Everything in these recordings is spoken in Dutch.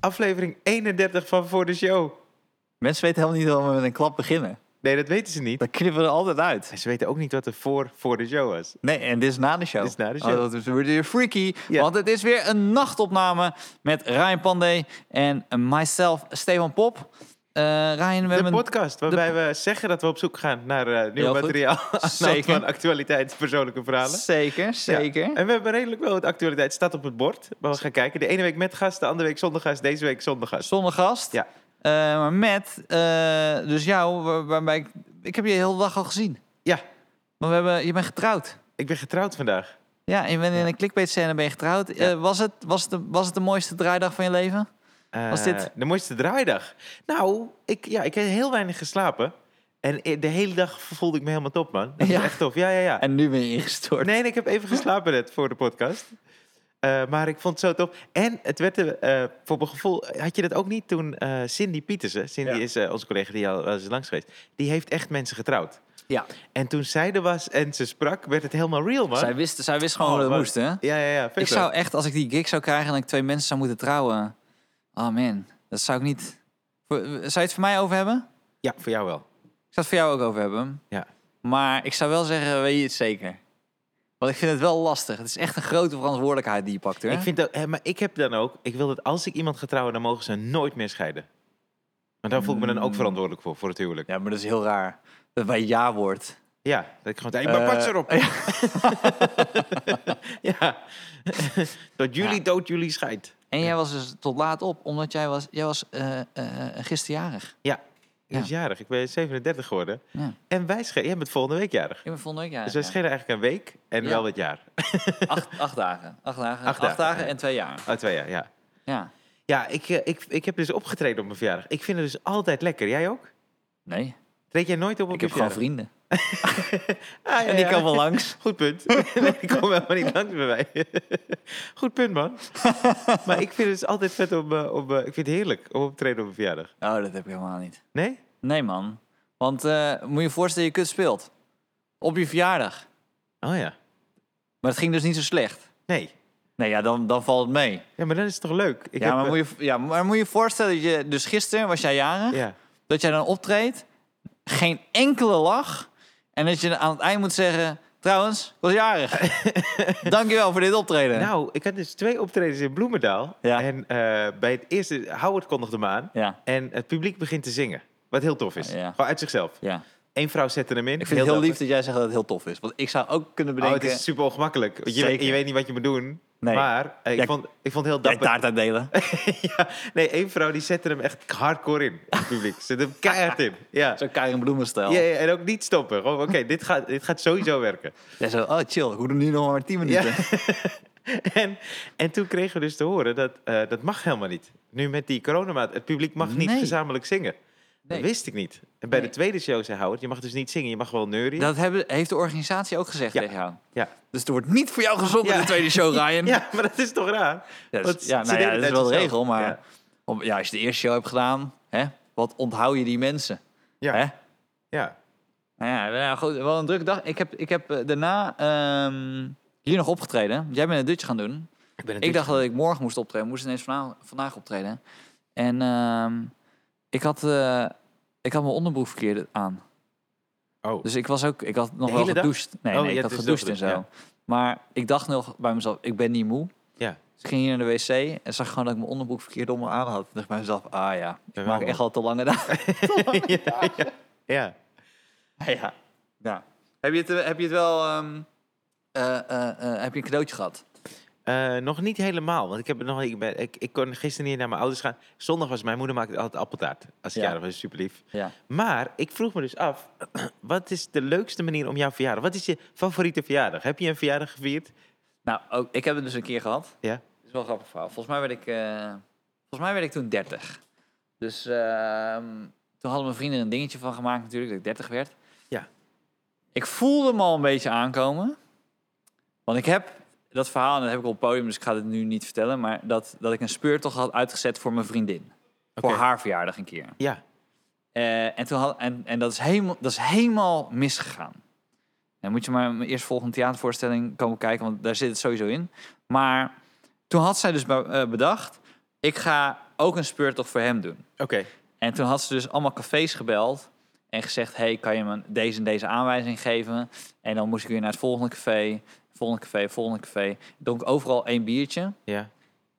aflevering 31 van Voor de Show. Mensen weten helemaal niet hoe we met een klap beginnen. Nee, dat weten ze niet. Dat knippen we er altijd uit. En ze weten ook niet wat er voor Voor de Show was. Nee, en dit is na de show. Dit is na de show. Oh, dat is weer freaky. Ja. Want het is weer een nachtopname met Ryan Pandey en myself, Stefan Pop. Eh Ryan, we De hebben... podcast waarbij we zeggen dat we op zoek gaan naar eh, nieuw Heel goed. materiaal. aan de hand Zeker. van actualiteit, persoonlijke verhalen. Zeker, zeker. Ja. En we hebben redelijk wel wat actualiteit. Het staat op het bord. Maar we gaan kijken. De ene week met gast, de andere week zonder gast, deze week zonder gast. Zonder gast. Ja. Eh, maar met, eh, dus jou, waar- waarbij ik... Ik heb je de hele dag al gezien. Ja, Maar we hebben, je bent getrouwd. ik ben getrouwd vandaag. Ja, en je bent in een clickbait scène ben je getrouwd. Ja. Eh, was, het, was, het de, was het de mooiste draaidag van je leven? Eh, Was dit- De mooiste draaidag. Nou, ik, ja, ik heb heel weinig geslapen. En i- de hele dag voelde ik me helemaal top, man. Dat Ja. is echt tof. Ja, ja, ja. En nu ben je ingestort. Nee, nee, ik heb even geslapen net voor de podcast. Eh, maar ik vond het zo tof. En het werd, eh, eh, voor mijn gevoel, had je dat ook niet toen eh, Cindy Pietersen, Cindy Ja. is eh, onze collega die al wel eens langs geweest, die heeft echt mensen getrouwd. Ja. En toen zij er was en ze sprak, werd het helemaal real, man. Zij wist, zij wist gewoon Oh, hoe dat wat- moest, hè? Ja, ja, ja. vet Ik wel. zou echt, als ik die gig zou krijgen en ik twee mensen zou moeten trouwen. Oh man, dat zou ik niet. Voor- Zou je het voor mij over hebben? Ja, voor jou wel. Ik zou het voor jou ook over hebben. Ja. Maar ik zou wel zeggen, weet je het zeker? Want ik vind het wel lastig. Het is echt een grote verantwoordelijkheid die je pakt, hoor. Ik vind dat, hè, maar ik heb dan ook, ik wil dat als ik iemand ga trouwen, dan mogen ze nooit meer scheiden. Want daar voel ik me dan ook verantwoordelijk voor, voor het huwelijk. Ja, Mm. Ja, maar dat is heel raar. Dat bij ja wordt. dat ik gewoon, hé, maar pas Eh, erop. ja. ja. Tot jullie Ja. dood, jullie scheidt. En jij was dus tot laat op, omdat jij was, jij was eh, eh, eh, gisterjarig. Ja, ik Ja. was jarig. Ik ben 37 geworden. Ja. En wij scheiden. Jij bent volgende week jarig. Ik ben volgende week jarig. Dus wij ja. schelen eigenlijk een week en Ja. wel het jaar. acht, acht dagen. Acht dagen. Acht Acht, dagen, dagen ja. en twee jaar. Oh, twee jaar, ja. Ja. Ja, ik, eh, ik, ik heb dus opgetreden op mijn verjaardag. Ik vind het dus altijd lekker. Jij ook? Nee, Treed jij nooit op op ik je heb gewoon verjaardag? vrienden. Ah, ja, En die ja. kan wel langs. Goed punt. nee, ik kom helemaal niet langs bij mij. Goed punt, man. maar ik vind het dus altijd vet om... eh, om eh, ik vind het heerlijk om op te treden op mijn verjaardag. Oh, dat heb ik helemaal niet. Nee? Nee, man. Want eh, moet je je voorstellen, je kut speelt. Op je verjaardag. Oh ja. Maar het ging dus niet zo slecht. Nee. Nee, ja, dan, dan valt het mee. Ja, maar dat is toch leuk? Ik Ja heb, maar, eh, moet je, ja, maar moet je voorstellen dat je... Dus gisteren was jij jarig. Ja. Dat jij dan optreedt. Geen enkele lach. En dat je aan het eind moet zeggen... Trouwens, ik was jarig. Dankjewel voor dit optreden. Nou, ik had dus twee optredens in Bloemendaal. Ja. En eh, bij het eerste, Howard kondigde me aan. Ja, En het publiek begint te zingen. Wat heel tof is. Ja. Gewoon uit zichzelf. ja. Eén vrouw zette hem in. Ik vind het heel dapper. lief dat jij zegt dat het heel tof is. Want ik zou ook kunnen Oh, bedenken... het is super ongemakkelijk. Want Je, Zeker. je weet niet wat je moet doen. Nee. Maar eh, ik, Jij- vond, ik vond het heel Jij dapper. taart uitdelen. ja. Nee, één vrouw die zette hem echt hardcore in. Het publiek. Zet hem keihard in. Ja. Zo Karin Bloemenstijl. Ja, ja, en ook niet stoppen. Gewoon, oké, dit, gaat, dit gaat sowieso werken. Jij zo, oh chill, ik hoef er nu nog maar 10 minuten. Ja. en, en toen kregen we dus te horen dat eh, dat mag helemaal niet. Nu met die coronamaat, het publiek mag niet Nee. gezamenlijk zingen. Nee. Dat wist ik niet. En bij Nee. de tweede show zei Howard, je mag dus niet zingen, je mag wel neurien. Dat hebben, heeft de organisatie ook gezegd Ja. tegen jou. Ja. Dus er wordt niet voor jou gezongen Ja. in de tweede show, Ryan. Ja, maar dat is toch raar? Ja, dat Want is, ja, ze nou ja, deden dat het is wel de uit regel, maar Ja. om- ja, als je de eerste show hebt gedaan, hè, wat onthoud je die mensen? Ja. Hè? Ja. Nou ja, nou, goed, wel een drukke dag. Ik heb, ik heb eh, daarna ehm, hier nog opgetreden. Jij bent een dutje gaan doen. Ik, ben Ik dacht dat ik morgen moest optreden, moest ineens vandaag, vandaag optreden. En ehm, ik, had, eh, ik had mijn onderbroek verkeerd aan. Oh, Dus ik was ook, ik had nog De wel hele dag? gedoucht. Nee, Oh, nee, je ik hebt had dus gedoucht wel en zo. gedoucht, Maar ik dacht nog bij mezelf, ik ben niet moe. Ja. Dus ik ging hier naar de wc en zag gewoon dat ik mijn onderbroek verkeerd om me aan had. Ik dacht bij mezelf, ah ja, ik wel, maak man. echt al te lange dagen. ja. ja. ja. Heb, je het, eh, heb je het wel, ehm, eh, eh, eh, heb je een cadeautje gehad? Eh, nog niet helemaal, want ik, heb het nog, ik, ben, ik, ik kon gisteren niet naar mijn ouders gaan. Zondag was mijn moeder maakte altijd appeltaart. Als ik Ja. jarig was, super lief. Ja. Maar ik vroeg me dus af, wat is de leukste manier om jouw verjaardag? Wat is je favoriete verjaardag? Heb je een verjaardag gevierd? Nou, ook, ik heb het dus een keer gehad. Ja. Dat is wel een grappig verhaal. Volgens mij werd ik, eh, volgens mij werd ik toen 30. Dus ehm, toen hadden mijn vrienden er een dingetje van gemaakt natuurlijk, dat ik 30 werd. Ja. Ik voelde me al een beetje aankomen. Want ik heb dat verhaal, en dat heb ik op het podium, dus ik ga het nu niet vertellen. Maar dat, dat ik een speurtocht had uitgezet voor mijn vriendin. Voor Oké. haar verjaardag een keer. Ja, Eh, en, toen had, en, en dat, is helemaal, dat is helemaal misgegaan. Dan moet je maar mijn eerstvolgende theatervoorstelling komen kijken, want daar zit het sowieso in. Maar toen had zij dus be- eh, bedacht: ik ga ook een speurtocht voor hem doen. Oké. En toen had ze dus allemaal cafés gebeld en gezegd: Hey, kan je me deze en deze aanwijzing geven? En dan moest ik weer naar het volgende café, volgende café, volgende café. Dronk overal één biertje Ja.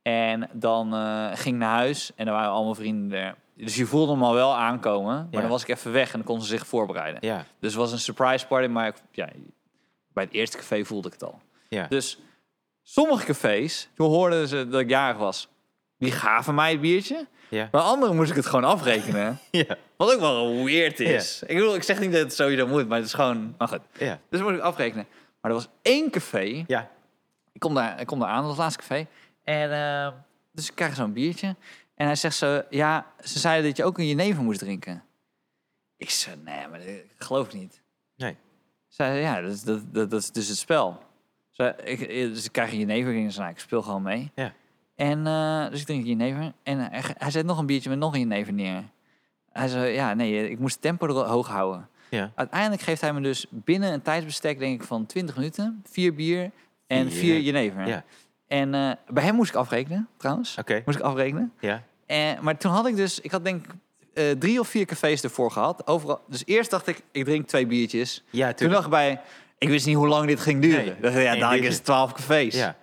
en dan eh, ging ik naar huis en er waren allemaal vrienden er. Dus je voelde hem al wel aankomen, maar Ja. dan was ik even weg en dan kon ze zich voorbereiden. Ja. Dus het was een surprise party, maar ik- ja, bij het eerste café voelde ik het al. Ja. Dus sommige cafés, toen hoorden ze dat ik jarig was, die gaven mij het biertje. Ja. Maar anderen moest ik het gewoon afrekenen. Ja. Wat ook wel weird is. Ik bedoel, ik zeg niet dat het sowieso moet, maar het is gewoon... Maar goed. Ja. Dus moest ik afrekenen. Maar er was één café. Ja. Ik kom daar, ik kom daar aan, dat laatste café. En eh, dus ik krijg zo'n biertje. En hij zegt zo, ja, ze zeiden dat je ook een jenever moest drinken. Ik zei, nee, maar ik geloof het niet. Nee. Zij zei, ja, dat, is- dat, dat, dat is dus het spel. Zij- ik, ik- dus ik krijg een jenever en ik zei, nou, ik speel gewoon mee. Ja. En eh, dus ik drink een jenever. En hij, hij zet nog een biertje met nog een jenever neer. Hij zei, ja, nee, ik moest het tempo er hoog houden. Ja. Uiteindelijk geeft hij me dus binnen een tijdsbestek, denk ik, van 20 minuten, vier bier en Vier, vier ja. jenever. Ja. En eh, bij hem moest ik afrekenen, trouwens. Oké. Moest ik afrekenen. Ja. En, maar toen had ik dus, ik had denk ik eh, drie of vier cafés ervoor gehad. Overal, dus eerst dacht ik, ik drink twee biertjes. Ja, Toen tuurlijk. dacht ik bij, ik wist niet hoe lang dit ging duren. Nee, dacht, ik, ja, één dadelijk biertje. is het 12 cafés. Ja.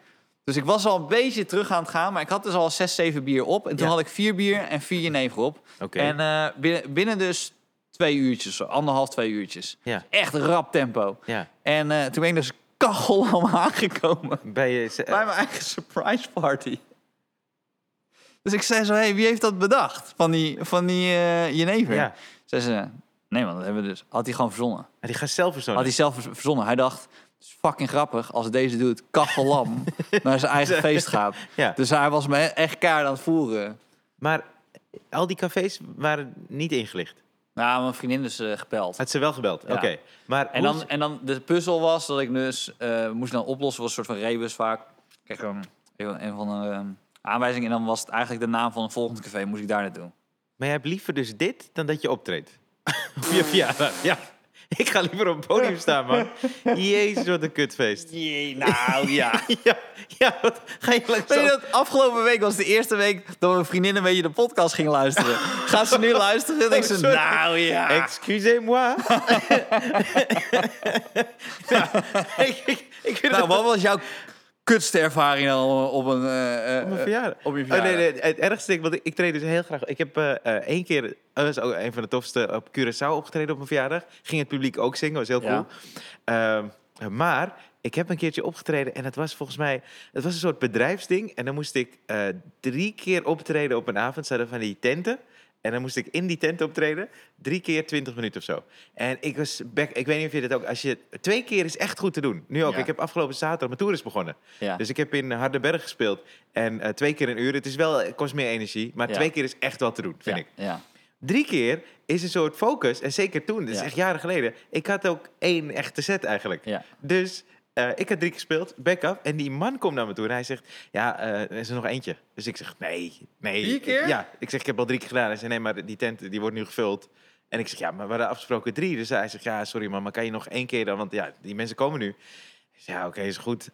Dus ik was al een beetje terug aan het gaan, maar ik had dus al zes, zeven bier op. En toen Ja. had ik vier bier en vier jenever op. Oké. En eh, binnen, binnen dus twee uurtjes, zo anderhalf, twee uurtjes. Ja. Echt rap tempo. Ja. En eh, toen ben ik dus kachel allemaal aangekomen Bij je... ze- bij mijn eigen surprise party. Dus ik zei zo, hey, wie heeft dat bedacht van die, van die eh jenever? Ja. Oh, Zei ze, nee man, dat hebben we dus. Had hij gewoon verzonnen. Ah, Die gaat zelf Had verzonnen. hij zelf verz- verzonnen. Hij dacht, het is fucking grappig als deze doet kachelam naar zijn eigen feest gaat. Ja. Dus hij was me echt kaart aan het voeren. Maar al die cafés waren niet ingelicht. Nou, mijn vriendin is eh, gebeld. Had ze wel gebeld. Ja. Oké. Maar En hoe dan, is- en dan de puzzel was dat ik dus eh, moest dan oplossen, was een soort van rebus vaak. Kijk, um, een van de aanwijzing. En dan was het eigenlijk de naam van een volgend café, moest ik daar naartoe. Maar jij hebt liever dus dit dan dat je optreedt. Op je verjaardag. Ja. Ik ga liever op het podium staan, man. Jezus, wat een kutfeest. Jee, nou ja. Ja, ja wat ga je langs Weet je al- dat, afgelopen week was de eerste week dat mijn vriendin een beetje de podcast ging luisteren. Gaat ze nu luisteren? Dan denk ze, sorry. nou ja. Excusez-moi. Ja, ik, ik, ik vind Nou, het- wat was jouw kutste ervaring dan op een... eh, eh, Op mijn verjaardag. op je Oh, nee, verjaardag. nee, het ergste ding, want ik, ik treed dus heel graag. Ik heb eh, eh, één keer, eh, dat is ook een van de tofste, op Curaçao opgetreden op mijn verjaardag. Ging het publiek ook zingen, was heel Ja. cool. Ehm, maar ik heb een keertje opgetreden en het was volgens mij, het was een soort bedrijfsding. En dan moest ik eh, drie keer optreden op een avond. Ze hadden van die tenten. En dan moest ik in die tent optreden, drie keer 20 minuten of zo. En ik was, back, ik weet niet of je dat ook, als je, twee keer is echt goed te doen. Nu ook, Ja. ik heb afgelopen zaterdag, mijn tour is begonnen. Ja. Dus ik heb in Hardenberg gespeeld. En eh, twee keer een uur. Het is wel, het kost meer energie. Maar Ja. twee keer is echt wat te doen, vind ja, ik. Ja. Drie keer is een soort focus. En zeker toen, dat is Ja. echt jaren geleden. Ik had ook één echte set eigenlijk. Ja. Dus eh, ik had drie keer gespeeld, back up. En die man komt naar me toe en hij zegt... Ja, eh, er is er nog eentje. Dus ik zeg, nee, nee. Drie Ik- keer? ja, ik zeg, ik heb al drie keer gedaan. Hij zei, nee, maar die tent die wordt nu gevuld. En ik zeg, ja, maar we hadden afgesproken drie. Dus hij zegt, ja, sorry man, maar kan je nog één keer dan? Want ja, die mensen komen nu. Ik zeg, ja, oké, is goed.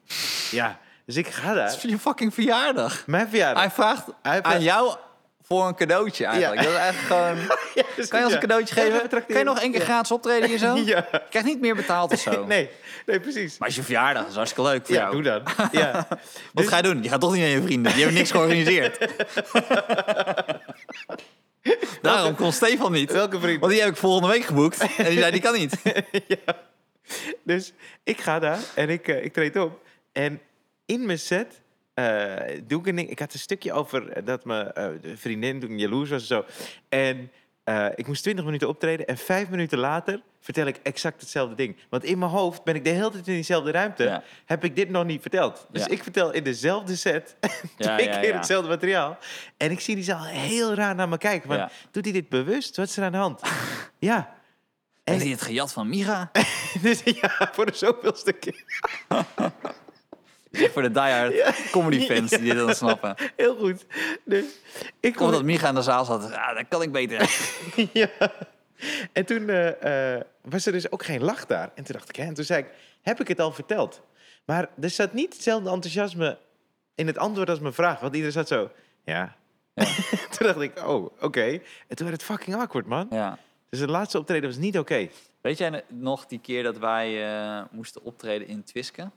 ja, dus ik ga Het is daar. voor je fucking verjaardag. Mijn verjaardag. Hij vraagt Hij heeft- aan jou voor een cadeautje eigenlijk. Ja. Dat is eigenlijk gewoon... Ja, dus Kan je ons ja. een cadeautje Ja, geven? even trakteren. Kan je nog één keer Ja. gratis optreden hier zo? Ja. Je krijgt niet meer betaald of zo. Nee, nee, precies. Oh. Maar als je verjaardag is hartstikke leuk voor Ja, jou. doe dan. Ja. Wat ga je doen? Je gaat toch niet naar je vrienden. Die hebben niks georganiseerd. Daarom kon Stefan niet. Welke vriend? Want die heb ik volgende week geboekt. En die zei, die kan niet. Dus ik ga daar en ik, eh, ik treed op. En in mijn set eh, doe ik een ding. Ik had een stukje over dat mijn eh, de vriendin toen jaloers was en zo. En eh, ik moest 20 minuten optreden. En vijf minuten later vertel ik exact hetzelfde ding. Want in mijn hoofd ben ik de hele tijd in diezelfde ruimte. Ja. Heb ik dit nog niet verteld. Dus Ja. ik vertel in dezelfde set Ja, twee ja, keer ja. hetzelfde materiaal. En ik zie die zaal heel raar naar me kijken. Van, Ja. Doet hij dit bewust? Wat is er aan de hand? ja. En die het gejat van Mira. Dus ja, voor de zoveelste keer. Echt voor de diehard comedy fans die dit dan snappen. Heel goed. Dus ik Omdat kon- Mira in de zaal zat. Ah, dat kan ik beter. ja. En toen eh, eh, was er dus ook geen lach daar. En toen dacht ik, hè, en toen zei ik, heb ik het al verteld? Maar er zat niet hetzelfde enthousiasme in het antwoord als mijn vraag. Want iedereen zat zo, ja, toen dacht ik, oh, oké. En toen werd het fucking awkward, man. Ja. Dus het laatste optreden was niet oké. Weet jij nog die keer dat wij eh, moesten optreden in Twiske?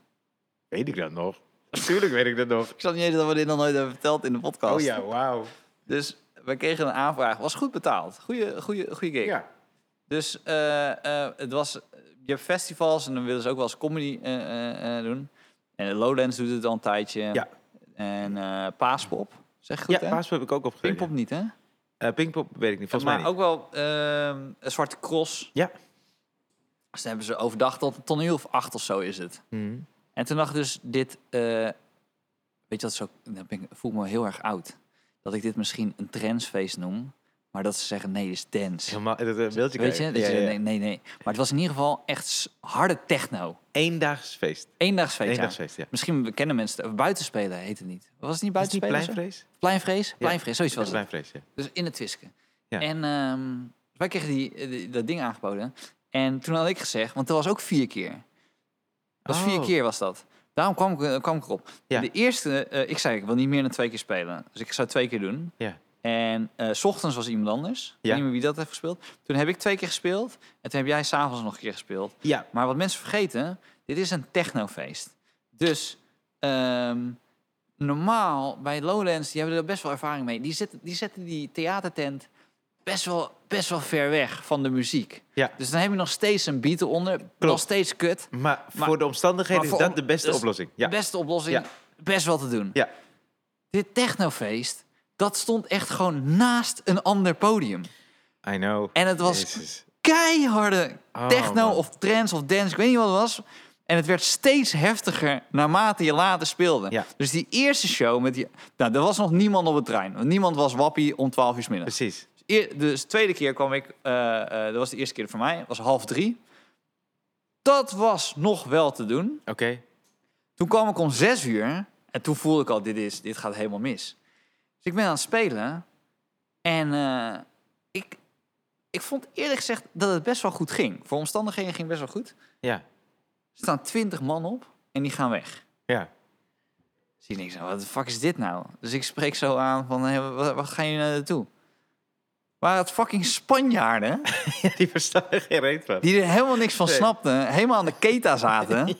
Weet ik dat nog? Natuurlijk weet ik dat nog. Ik zat niet eens dat we dit nog nooit hebben verteld in de podcast. Oh ja, wauw. Dus we kregen een aanvraag. Was goed betaald. Goeie, goeie, goeie gig. Ja. Dus eh, eh, het was, je hebt festivals en dan willen ze ook wel eens comedy eh, eh, eh, doen. En Lowlands doet het al een tijdje. Ja. En eh, Paaspop, zeg ik goed Ja, hè? Paas heb ik ook opgetreden. Pinkpop niet hè? Eh, Pinkpop weet ik niet, volgens maar mij niet. ook wel ehm, een Zwarte Cross. Ja. Dus dan hebben ze overdag tot een toneel of acht of zo is het. Mhm. En toen dacht ik dus dit, eh, weet je dat zo, dan ben ik, voel ik me heel erg oud. Dat ik dit misschien een trendsfeest noem, maar dat ze zeggen nee, dit is dance. Helemaal, dat eh, beeldje Weet je? krijg Dat Ja, je- ja, ja. Nee, nee, nee. Maar het was in ieder geval echt s- harde techno. Eendaags feest. Eendaagsfeest. ja. Eendaagsfeest, ja. Misschien kennen mensen het. Buitenspelen heet het niet. Was het niet Is het niet buitenspelen? of zo? pleinvrees? Pleinvrees? Pleinvrees, zoiets was het. Pleinvrees, ja. Dus in het Twisken. Ja. En ehm, wij kregen die, die- dat ding aangeboden. En toen had ik gezegd, want dat was ook vier keer. Dat was vier Oh. keer was dat. Daarom kwam ik, eh, kwam ik erop. Ja. De eerste, eh, ik zei, ik wil niet meer dan twee keer spelen. Dus ik zou twee keer doen. Ja. En eh, s ochtends was iemand anders. Ik weet Ja. niet meer wie dat heeft gespeeld. Toen heb ik twee keer gespeeld. En toen heb jij s'avonds nog een keer gespeeld. Ja, Maar wat mensen vergeten, dit is een technofeest. Dus ehm, normaal bij Lowlands, die hebben er best wel ervaring mee. Die zetten die, zetten die theatertent best wel, best wel ver weg van de muziek. Ja. Dus dan heb je nog steeds een beat eronder. Nog steeds kut. maar, Maar- voor de omstandigheden maar voor is om- dus dat de beste dat is oplossing. Ja. Beste oplossing. Ja. Best wel te doen. Ja. Dit technofeest, dat stond echt gewoon naast een ander podium. I know. En het was Jezus. keiharde Oh, techno man. of trance of dance, ik weet niet wat het was. En het werd steeds heftiger naarmate je later speelde. Ja. Dus die eerste show met die... Nou, er was nog niemand op het trein. Want niemand was wappie om 12 uur 's middags. Precies. Eer- dus de tweede keer kwam ik... eh, eh, dat was de eerste keer voor mij. was half drie. Dat was nog wel te doen. Oké. Toen kwam ik om zes uur. En toen voelde ik al, dit, is, dit gaat helemaal mis. Dus ik ben aan het spelen. En eh, ik, ik vond eerlijk gezegd dat het best wel goed ging. Voor omstandigheden ging het best wel goed. Ja. Er staan twintig man op en die gaan weg. Ja. Zie ik niks aan. Wat de fuck is dit nou? Dus ik spreek zo aan van, hey, wat, wat gaan jullie naartoe? Waren het fucking Spanjaarden ja, die verstaan er geen reet van. die er helemaal niks van Nee. snapten, helemaal aan de keta zaten.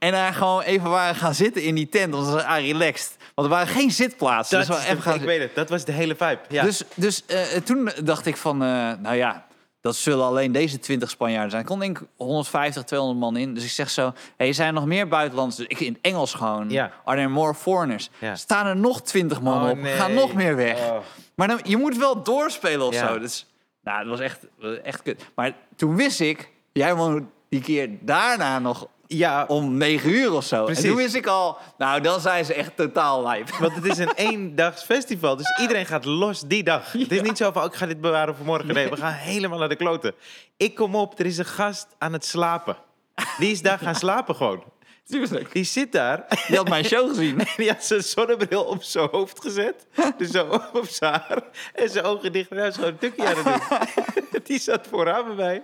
En daar gewoon even waren gaan zitten in die tent, want ze waren ah, relaxed. Want er waren geen zitplaatsen. Dat dus we is even de- gaan ik weet het, dat was de hele vibe. Ja. Dus, dus eh, toen dacht ik van, eh, nou ja, dat zullen alleen deze 20 Spanjaarden zijn. Er kon denk ik 150, 200 man in. Dus ik zeg zo, hey, er zijn nog meer buitenlanders. Dus ik in het Engels gewoon. Ja. Are there more foreigners? Ja. Staan er nog 20 man Oh, op? nee. Gaan nog meer weg? Oh. Maar dan, je moet wel doorspelen of Ja. zo. Dus, nou, dat was echt, echt kut. Maar toen wist ik, jij woont die keer daarna nog ja, om 9 uur of zo. En Precies. toen wist ik al, nou, dan zijn ze echt totaal lijp. want het is een eendaags festival, dus iedereen gaat los die dag. Het is niet zo van, oh, ik ga dit bewaren voor morgen. Nee, we gaan helemaal naar de kloten. Ik kom op, er is een gast aan het slapen. Die is daar gaan slapen gewoon. Tuurlijk. Die zit daar Je had mijn show gezien. En die had zijn zonnebril op zijn hoofd gezet. Dus zo op zijn haar. En zijn ogen dicht. En hij was gewoon een tukje aan het doen. die zat vooraan bij mij.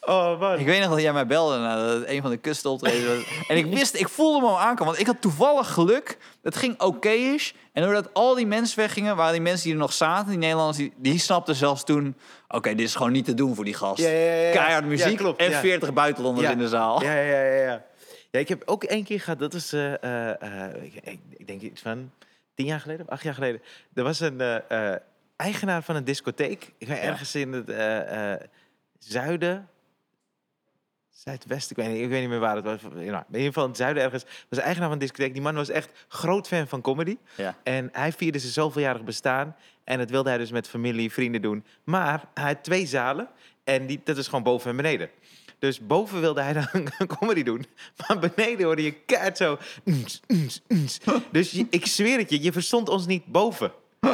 Oh man. Ik weet nog dat jij mij belde nadat het een van de kusten optreden was. En ik wist, ik voelde me al aankomen. Want ik had toevallig geluk. Het ging oké is. En doordat al die mensen weggingen, waren die mensen die er nog zaten, die Nederlanders, die, die snapten zelfs toen... Oké, dit is gewoon niet te doen voor die gast. Ja, ja, ja, ja. Keihard Ja, muziek klopt, en ja. 40 buitenlanders in de zaal. Ja, ja, ja, ja, ja. Ja, ik heb ook één keer gehad. Dat was, eh, eh, eh, ik, ik- ik denk iets van tien jaar geleden of acht jaar geleden. Er was een eh, eh, eigenaar van een discotheek. Ik weet Ja. ergens in het eh, eh, zuiden. Zuidwest, ik weet, niet, ik weet niet meer waar het was. Nou, in ieder geval in het zuiden ergens. Was de eigenaar van een discotheek. Die man was echt groot fan van comedy. Ja. En hij vierde zijn zoveeljarig bestaan. En dat wilde hij dus met familie, vrienden doen. Maar hij had twee zalen. En die, dat is gewoon boven en beneden. Dus boven wilde hij dan een comedy doen. Maar beneden hoorde je keihard zo... "Ns, ns, ns." Dus je- ik zweer het je, je verstond ons niet boven.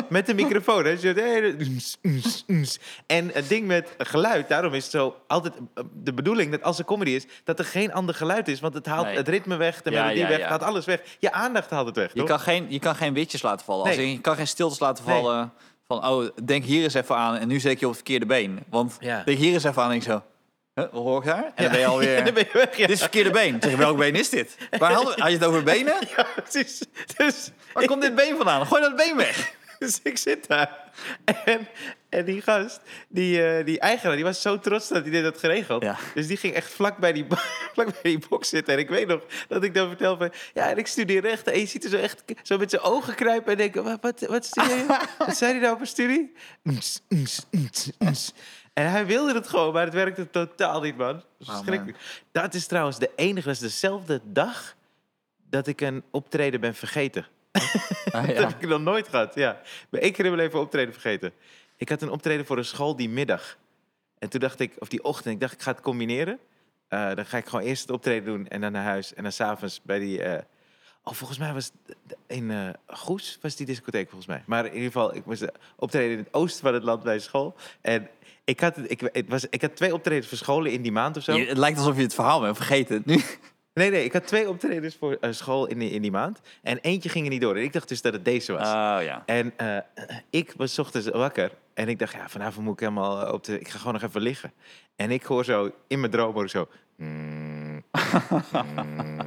Met de microfoon. Hè? Zo, "Hey, ns, ns, ns." En het ding met geluid, daarom is het zo altijd eh, de bedoeling... dat als er comedy is, dat er geen ander geluid is. Want het haalt Nee. het ritme weg, de Ja, melodie ja, weg, ja. het haalt alles weg. Je aandacht haalt het weg, Je, toch? kan geen, je kan geen witjes laten vallen. Nee. Als in, je kan geen stiltes laten Nee. vallen van... Oh, denk hier eens even aan en nu zet ik je op het verkeerde been. Want Ja. denk hier eens even aan en ik zo... Huh, wat hoor ik daar? En dan ben je alweer... Ja, dan ben je weg, ja. Dit is het verkeerde been. Ik Zeg, welk been is dit? Waar had, had je het over benen? Ja, precies. Dus Waar komt dit been vandaan? Gooi dat been weg. Dus ik zit daar. En, en die gast, die, eh, die eigenaar, die was zo trots dat hij dit had geregeld. Ja. Dus die ging echt vlak bij, die, bo- vlak bij die box zitten. En ik weet nog dat ik dan vertel van... Ja, en ik studeer rechten. En je ziet er zo echt zo met zijn ogen kruipen. En denken, wat, wat, wat studeer je? wat zei hij nou voor studie? Ns, ns, ns, ns. En hij wilde het gewoon, maar het werkte totaal niet, man. Oh, man. Verschrikkelijk. dat is trouwens de enige, dat is dezelfde dag dat ik een optreden ben vergeten. Ah, Dat ja. heb ik nog nooit gehad, ja. Maar één keer in mijn leven optreden vergeten. Ik had een optreden voor een school die middag. En toen dacht ik, of die ochtend, ik dacht ik ga het combineren. Eh, dan ga ik gewoon eerst het optreden doen en dan naar huis. En dan s'avonds bij die... eh, oh, volgens mij was het in eh, Goes, was die discotheek volgens mij. Maar in ieder geval, ik moest eh, optreden in het oosten van het land bij school. En ik had, het, ik, het was, ik had twee optredens voor scholen in die maand of zo. Je- het lijkt alsof je het verhaal bent vergeten. Nu. Nee, nee, ik had twee optredens voor eh, school in die, in die maand. En eentje ging er niet door. En ik dacht dus dat het deze was. Oh ja. En eh, ik was 's ochtends wakker en ik dacht, ja, vanavond moet ik helemaal eh, op de... Ik ga gewoon nog even liggen. En ik hoor zo in mijn droom hoor ik zo... mm, mm,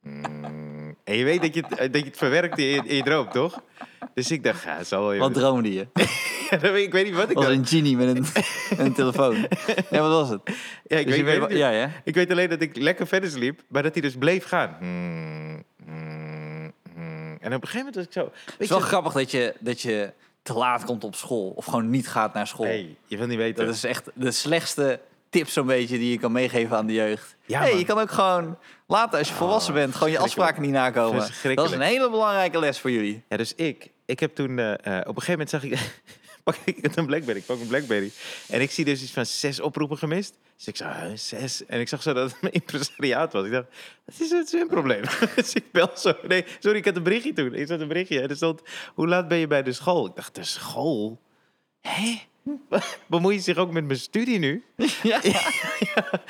mm. En je weet dat je, het- eh, dat je het verwerkt in je, in je droom, toch? Dus ik dacht, ja, het zal wel... Wat droomde je? eh, ik weet niet wat ik was dacht. een genie met een, met een telefoon. Ja, wat was het? Ja, ik weet, ik Dus je weet weet het wa- niet. ja, ja. Ik weet alleen dat ik lekker verder sliep, maar dat hij dus bleef gaan. Mm, mm, mm. En op een gegeven moment was ik zo... Het is wel grappig dat je, dat je te laat komt op school. Of gewoon niet gaat naar school. hey, je wil niet weten. Dat is echt de slechtste tip zo'n beetje die je kan meegeven aan de jeugd. Ja, hey, man. je kan ook gewoon later, als je volwassen bent, gewoon je afspraken niet nakomen. Dat is een Verschrikkelijk. hele belangrijke les voor jullie. Ja, dus ik, ik heb toen, eh, eh, op een gegeven moment zag ik, pak ik een Blackberry, ik pak een Blackberry. En ik zie dus iets van zes oproepen gemist. Dus ik zag, huh, zes? En ik zag zo dat het mijn impresariaat was. Ik dacht, wat is het hun probleem? dus ik bel zo, nee, sorry, ik had een berichtje toen. Ik zat een berichtje en er stond, hoe laat ben je bij de school? Ik dacht, de school? Hé? Bemoei je zich ook met mijn studie nu? Ja.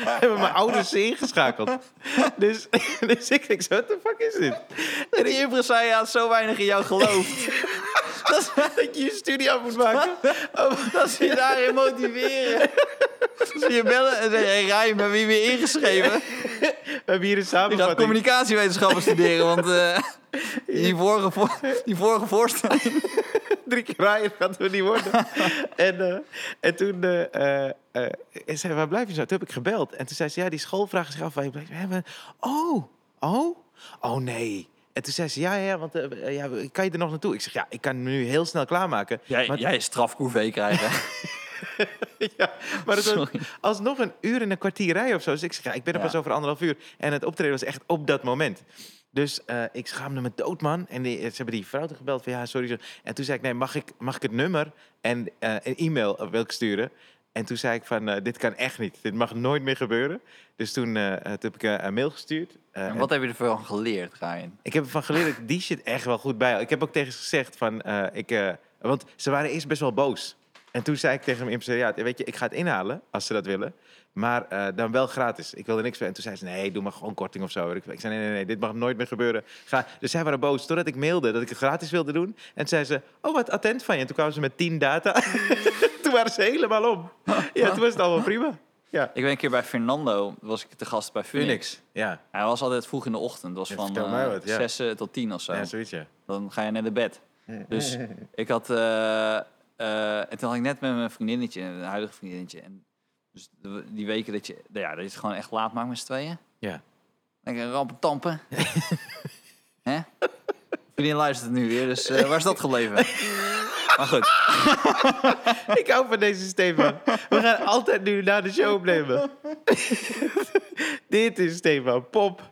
Hebben mijn ouders ze ingeschakeld? dus, dus ik denk, zo, what the fuck is dit? En die impresario had zo weinig in jou geloofd. dat, is- Dat je je studie af moet maken? dat ze je daarin motiveren. Ze je bellen en zeggen, hey Rijn, ben je weer ingeschreven? We hebben hier een Je gaat samenvatting. communicatiewetenschappen studeren, want eh, die, vorige voor- die vorige voorstelling... drie keer rijden, dat we niet worden. en, eh, en toen eh, eh, eh, zei waar blijf je zo? Toen heb ik gebeld. En toen zei ze, ja, die school vraagt zich af waar je blijft. We hebben, oh, oh, oh nee. En toen zei ze, ja, ja, want eh, eh, ja, kan je er nog naartoe? Ik zeg, ja, ik kan me nu heel snel klaarmaken. Jij, maar, jij strafcouvee krijgen. ja, maar het was Sorry. alsnog een uur en een kwartier rijden of zo. Dus ik zeg, ja, ik ben er Ja. pas over anderhalf uur. En het optreden was echt op dat moment. Dus eh, ik schaamde me dood, man. En die, ze hebben die vrouw toen gebeld van, ja, sorry. zo. En toen zei ik, nee, mag ik, mag ik het nummer en eh, een e-mail eh, wil ik sturen? En toen zei ik van, eh, dit kan echt niet. Dit mag nooit meer gebeuren. Dus toen, eh, eh, toen heb ik eh, een mail gestuurd. Eh, En Wat heb je ervan geleerd, Rijn? ik heb ervan geleerd dat ik die shit echt wel goed bij. Ik heb ook tegen ze gezegd van, eh, ik, eh, want ze waren eerst best wel boos. En toen zei ik tegen mijn impresariaat, "Ja, weet je, ik ga het inhalen als ze dat willen, maar eh, dan wel gratis. Ik wil er niks voor. En toen zei ze, nee, doe maar gewoon korting of zo. Ik ik zei, nee, nee, nee, dit mag nooit meer gebeuren. Ga. Dus zij waren boos, totdat ik mailde dat ik het gratis wilde doen. En toen zei ze, oh, wat attent van je. En toen kwamen ze met tien data. toen waren ze helemaal om. Ja, toen was het allemaal prima. Ja. Ik ben een keer bij Fernando, was ik te gast bij Phoenix. Ja, Hij was altijd vroeg in de ochtend. Dat was Ja, van vertel mij eh, wat, ja. zes eh, tot tien of zo. ja, zoiets, ja. Dan ga je naar de bed. Dus ik had... eh, eh, en toen had ik net met mijn vriendinnetje, een huidige vriendinnetje. En dus de- die weken dat je, nou ja, dat je het gewoon echt laat maakt met z'n tweeën. Ja. Lekker rampen tampen. Hè? Vriendin luistert nu weer, dus eh, waar is dat gebleven? maar goed, Ik hou van deze Stefan. We gaan altijd nu naar de show opnemen. Dit is Stefan Pop.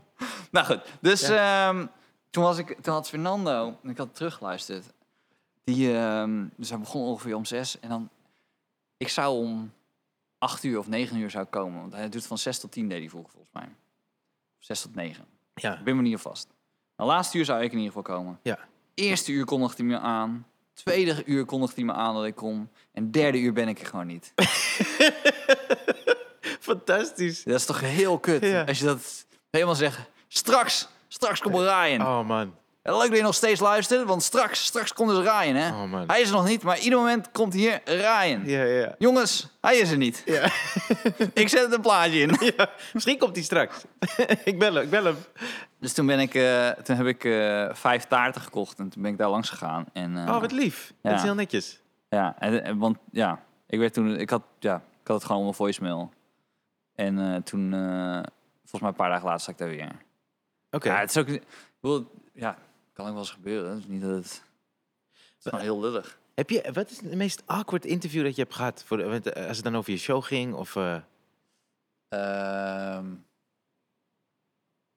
nou goed. Dus ehm, toen, was ik, toen had Fernando, en ik had teruggeluisterd. Die, ehm, dus hij begon ongeveer om zes. En dan, ik zou om acht uur of negen uur zou komen. Want hij doet van zes tot tien, deed hij vroeger volgens mij. Of zes tot negen. Ja. Ik ben me niet op vast. Nou, laatste uur zou ik in ieder geval komen. Ja. Eerste uur kondigde hij me aan. Tweede uur kondigde hij me aan dat ik kom. En derde uur ben ik er gewoon niet. Fantastisch. Dat is toch heel kut Ja. als je dat helemaal zegt. Straks, straks komt Ryan. Oh man. Leuk dat je nog steeds luistert, want straks, straks komt dus Ryan, hè? Oh, man. hij is er nog niet, maar ieder moment komt hier Ryan. Ja, ja. Jongens, hij is er niet. ja. Ik zet een plaatje in. ja. Misschien komt hij straks. ik bel hem, ik bel hem. Dus toen, ben ik, eh, toen heb ik eh, vijf taarten gekocht en toen ben ik daar langs gegaan. En, eh, Oh, wat lief. Ja. Dat is heel netjes. Ja, en, en- want ja, ik werd toen, ik had, ja, ik had het gewoon op mijn voicemail. En eh, toen, eh, volgens mij een paar dagen later zat ik daar weer. Oké. Ja, het is ook, ik bedoel, ja, kan ook wel eens gebeuren. Het is niet dat het, het is gewoon heel lullig. Heb je, wat is het meest awkward interview dat je hebt gehad? Voor, de- want, eh, als het dan over je show ging of... eh, Ehm,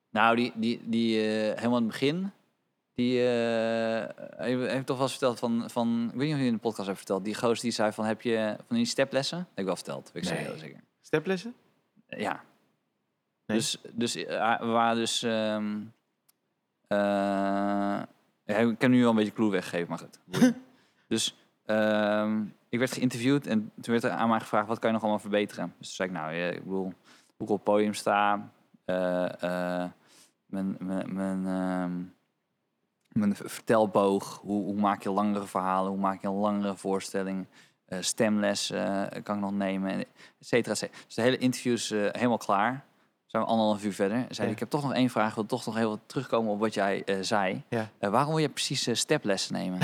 nou, die, die, die eh, helemaal aan het begin, die eh heeft, heeft toch wel eens verteld van, van, ik weet niet of je in de podcast hebt verteld, die goos die zei van, heb je van die steplessen? Dat heb ik wel verteld, weet ik Nee. zeker, zeker. Steplessen? Eh, Ja. Nee? Dus, dus eh, we waren dus... ehm, eh, ja, ik heb nu wel een beetje clue weggegeven, maar goed. boeien. dus ehm, ik werd geïnterviewd en toen werd er aan mij gevraagd... wat kan je nog allemaal verbeteren? Dus toen zei ik, nou, ja, ik bedoel, hoe ik op het podium sta... eh, eh, mijn, mijn, mijn, ehm, mijn v- vertelboog, hoe, hoe maak je langere verhalen... hoe maak je een langere voorstelling... eh, stemles eh, kan ik nog nemen... En et cetera, et cetera. Dus de hele interview is eh, helemaal klaar. Zijn we anderhalf uur verder. En Zei, Ja. ik heb toch nog één vraag. Ik wil toch nog heel wat terugkomen op wat jij eh, zei. Ja. Eh, waarom wil je precies eh, steplessen nemen?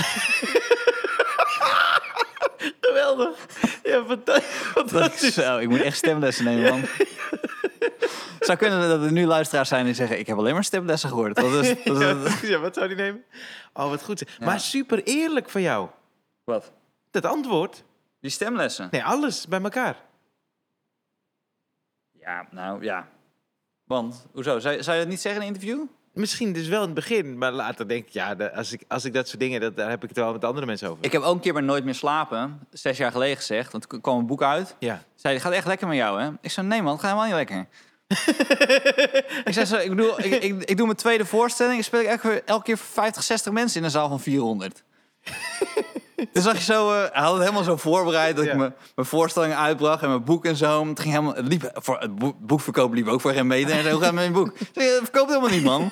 Geweldig. Ja, fanta- fantastisch. Zo, ik moet echt stemlessen nemen, man. Zou kunnen dat er nu luisteraars zijn die zeggen... ik heb alleen maar steplessen gehoord. Dat is, dat is- Ja, wat zou die nemen? Oh, wat goed. zeg. Ja. Maar super eerlijk van jou. Wat? Dat antwoord. Die stemlessen? Nee, alles bij elkaar. Ja, nou ja. Want, hoezo? Zou, je- zou je dat niet zeggen in een interview? Misschien dus wel in het begin, maar later denk ik, ja, de- als ik, als ik dat soort dingen, dat, daar heb ik het wel met andere mensen over. Ik heb ook een keer bij Nooit meer slapen, zes jaar geleden gezegd... want er kwam een boek uit... Ja. Zei, het gaat echt lekker met jou, hè? Ik zei, nee man, het gaat helemaal niet lekker. ik zei zo, ik, bedoel, ik, ik, ik doe mijn tweede voorstelling... en speel ik elke, elke keer voor 50, 60 mensen in een zaal van 400. dus zag je zo, eh, hij had het helemaal zo voorbereid... dat Ja. ik mijn, mijn voorstelling uitbracht en mijn boek en zo. Het, ging helemaal, het, liep, voor, het boek, boekverkoop liep ook voor geen meter. En hij zei, hoe gaat het met mijn boek? Ik zei, het verkoopt helemaal niet, man.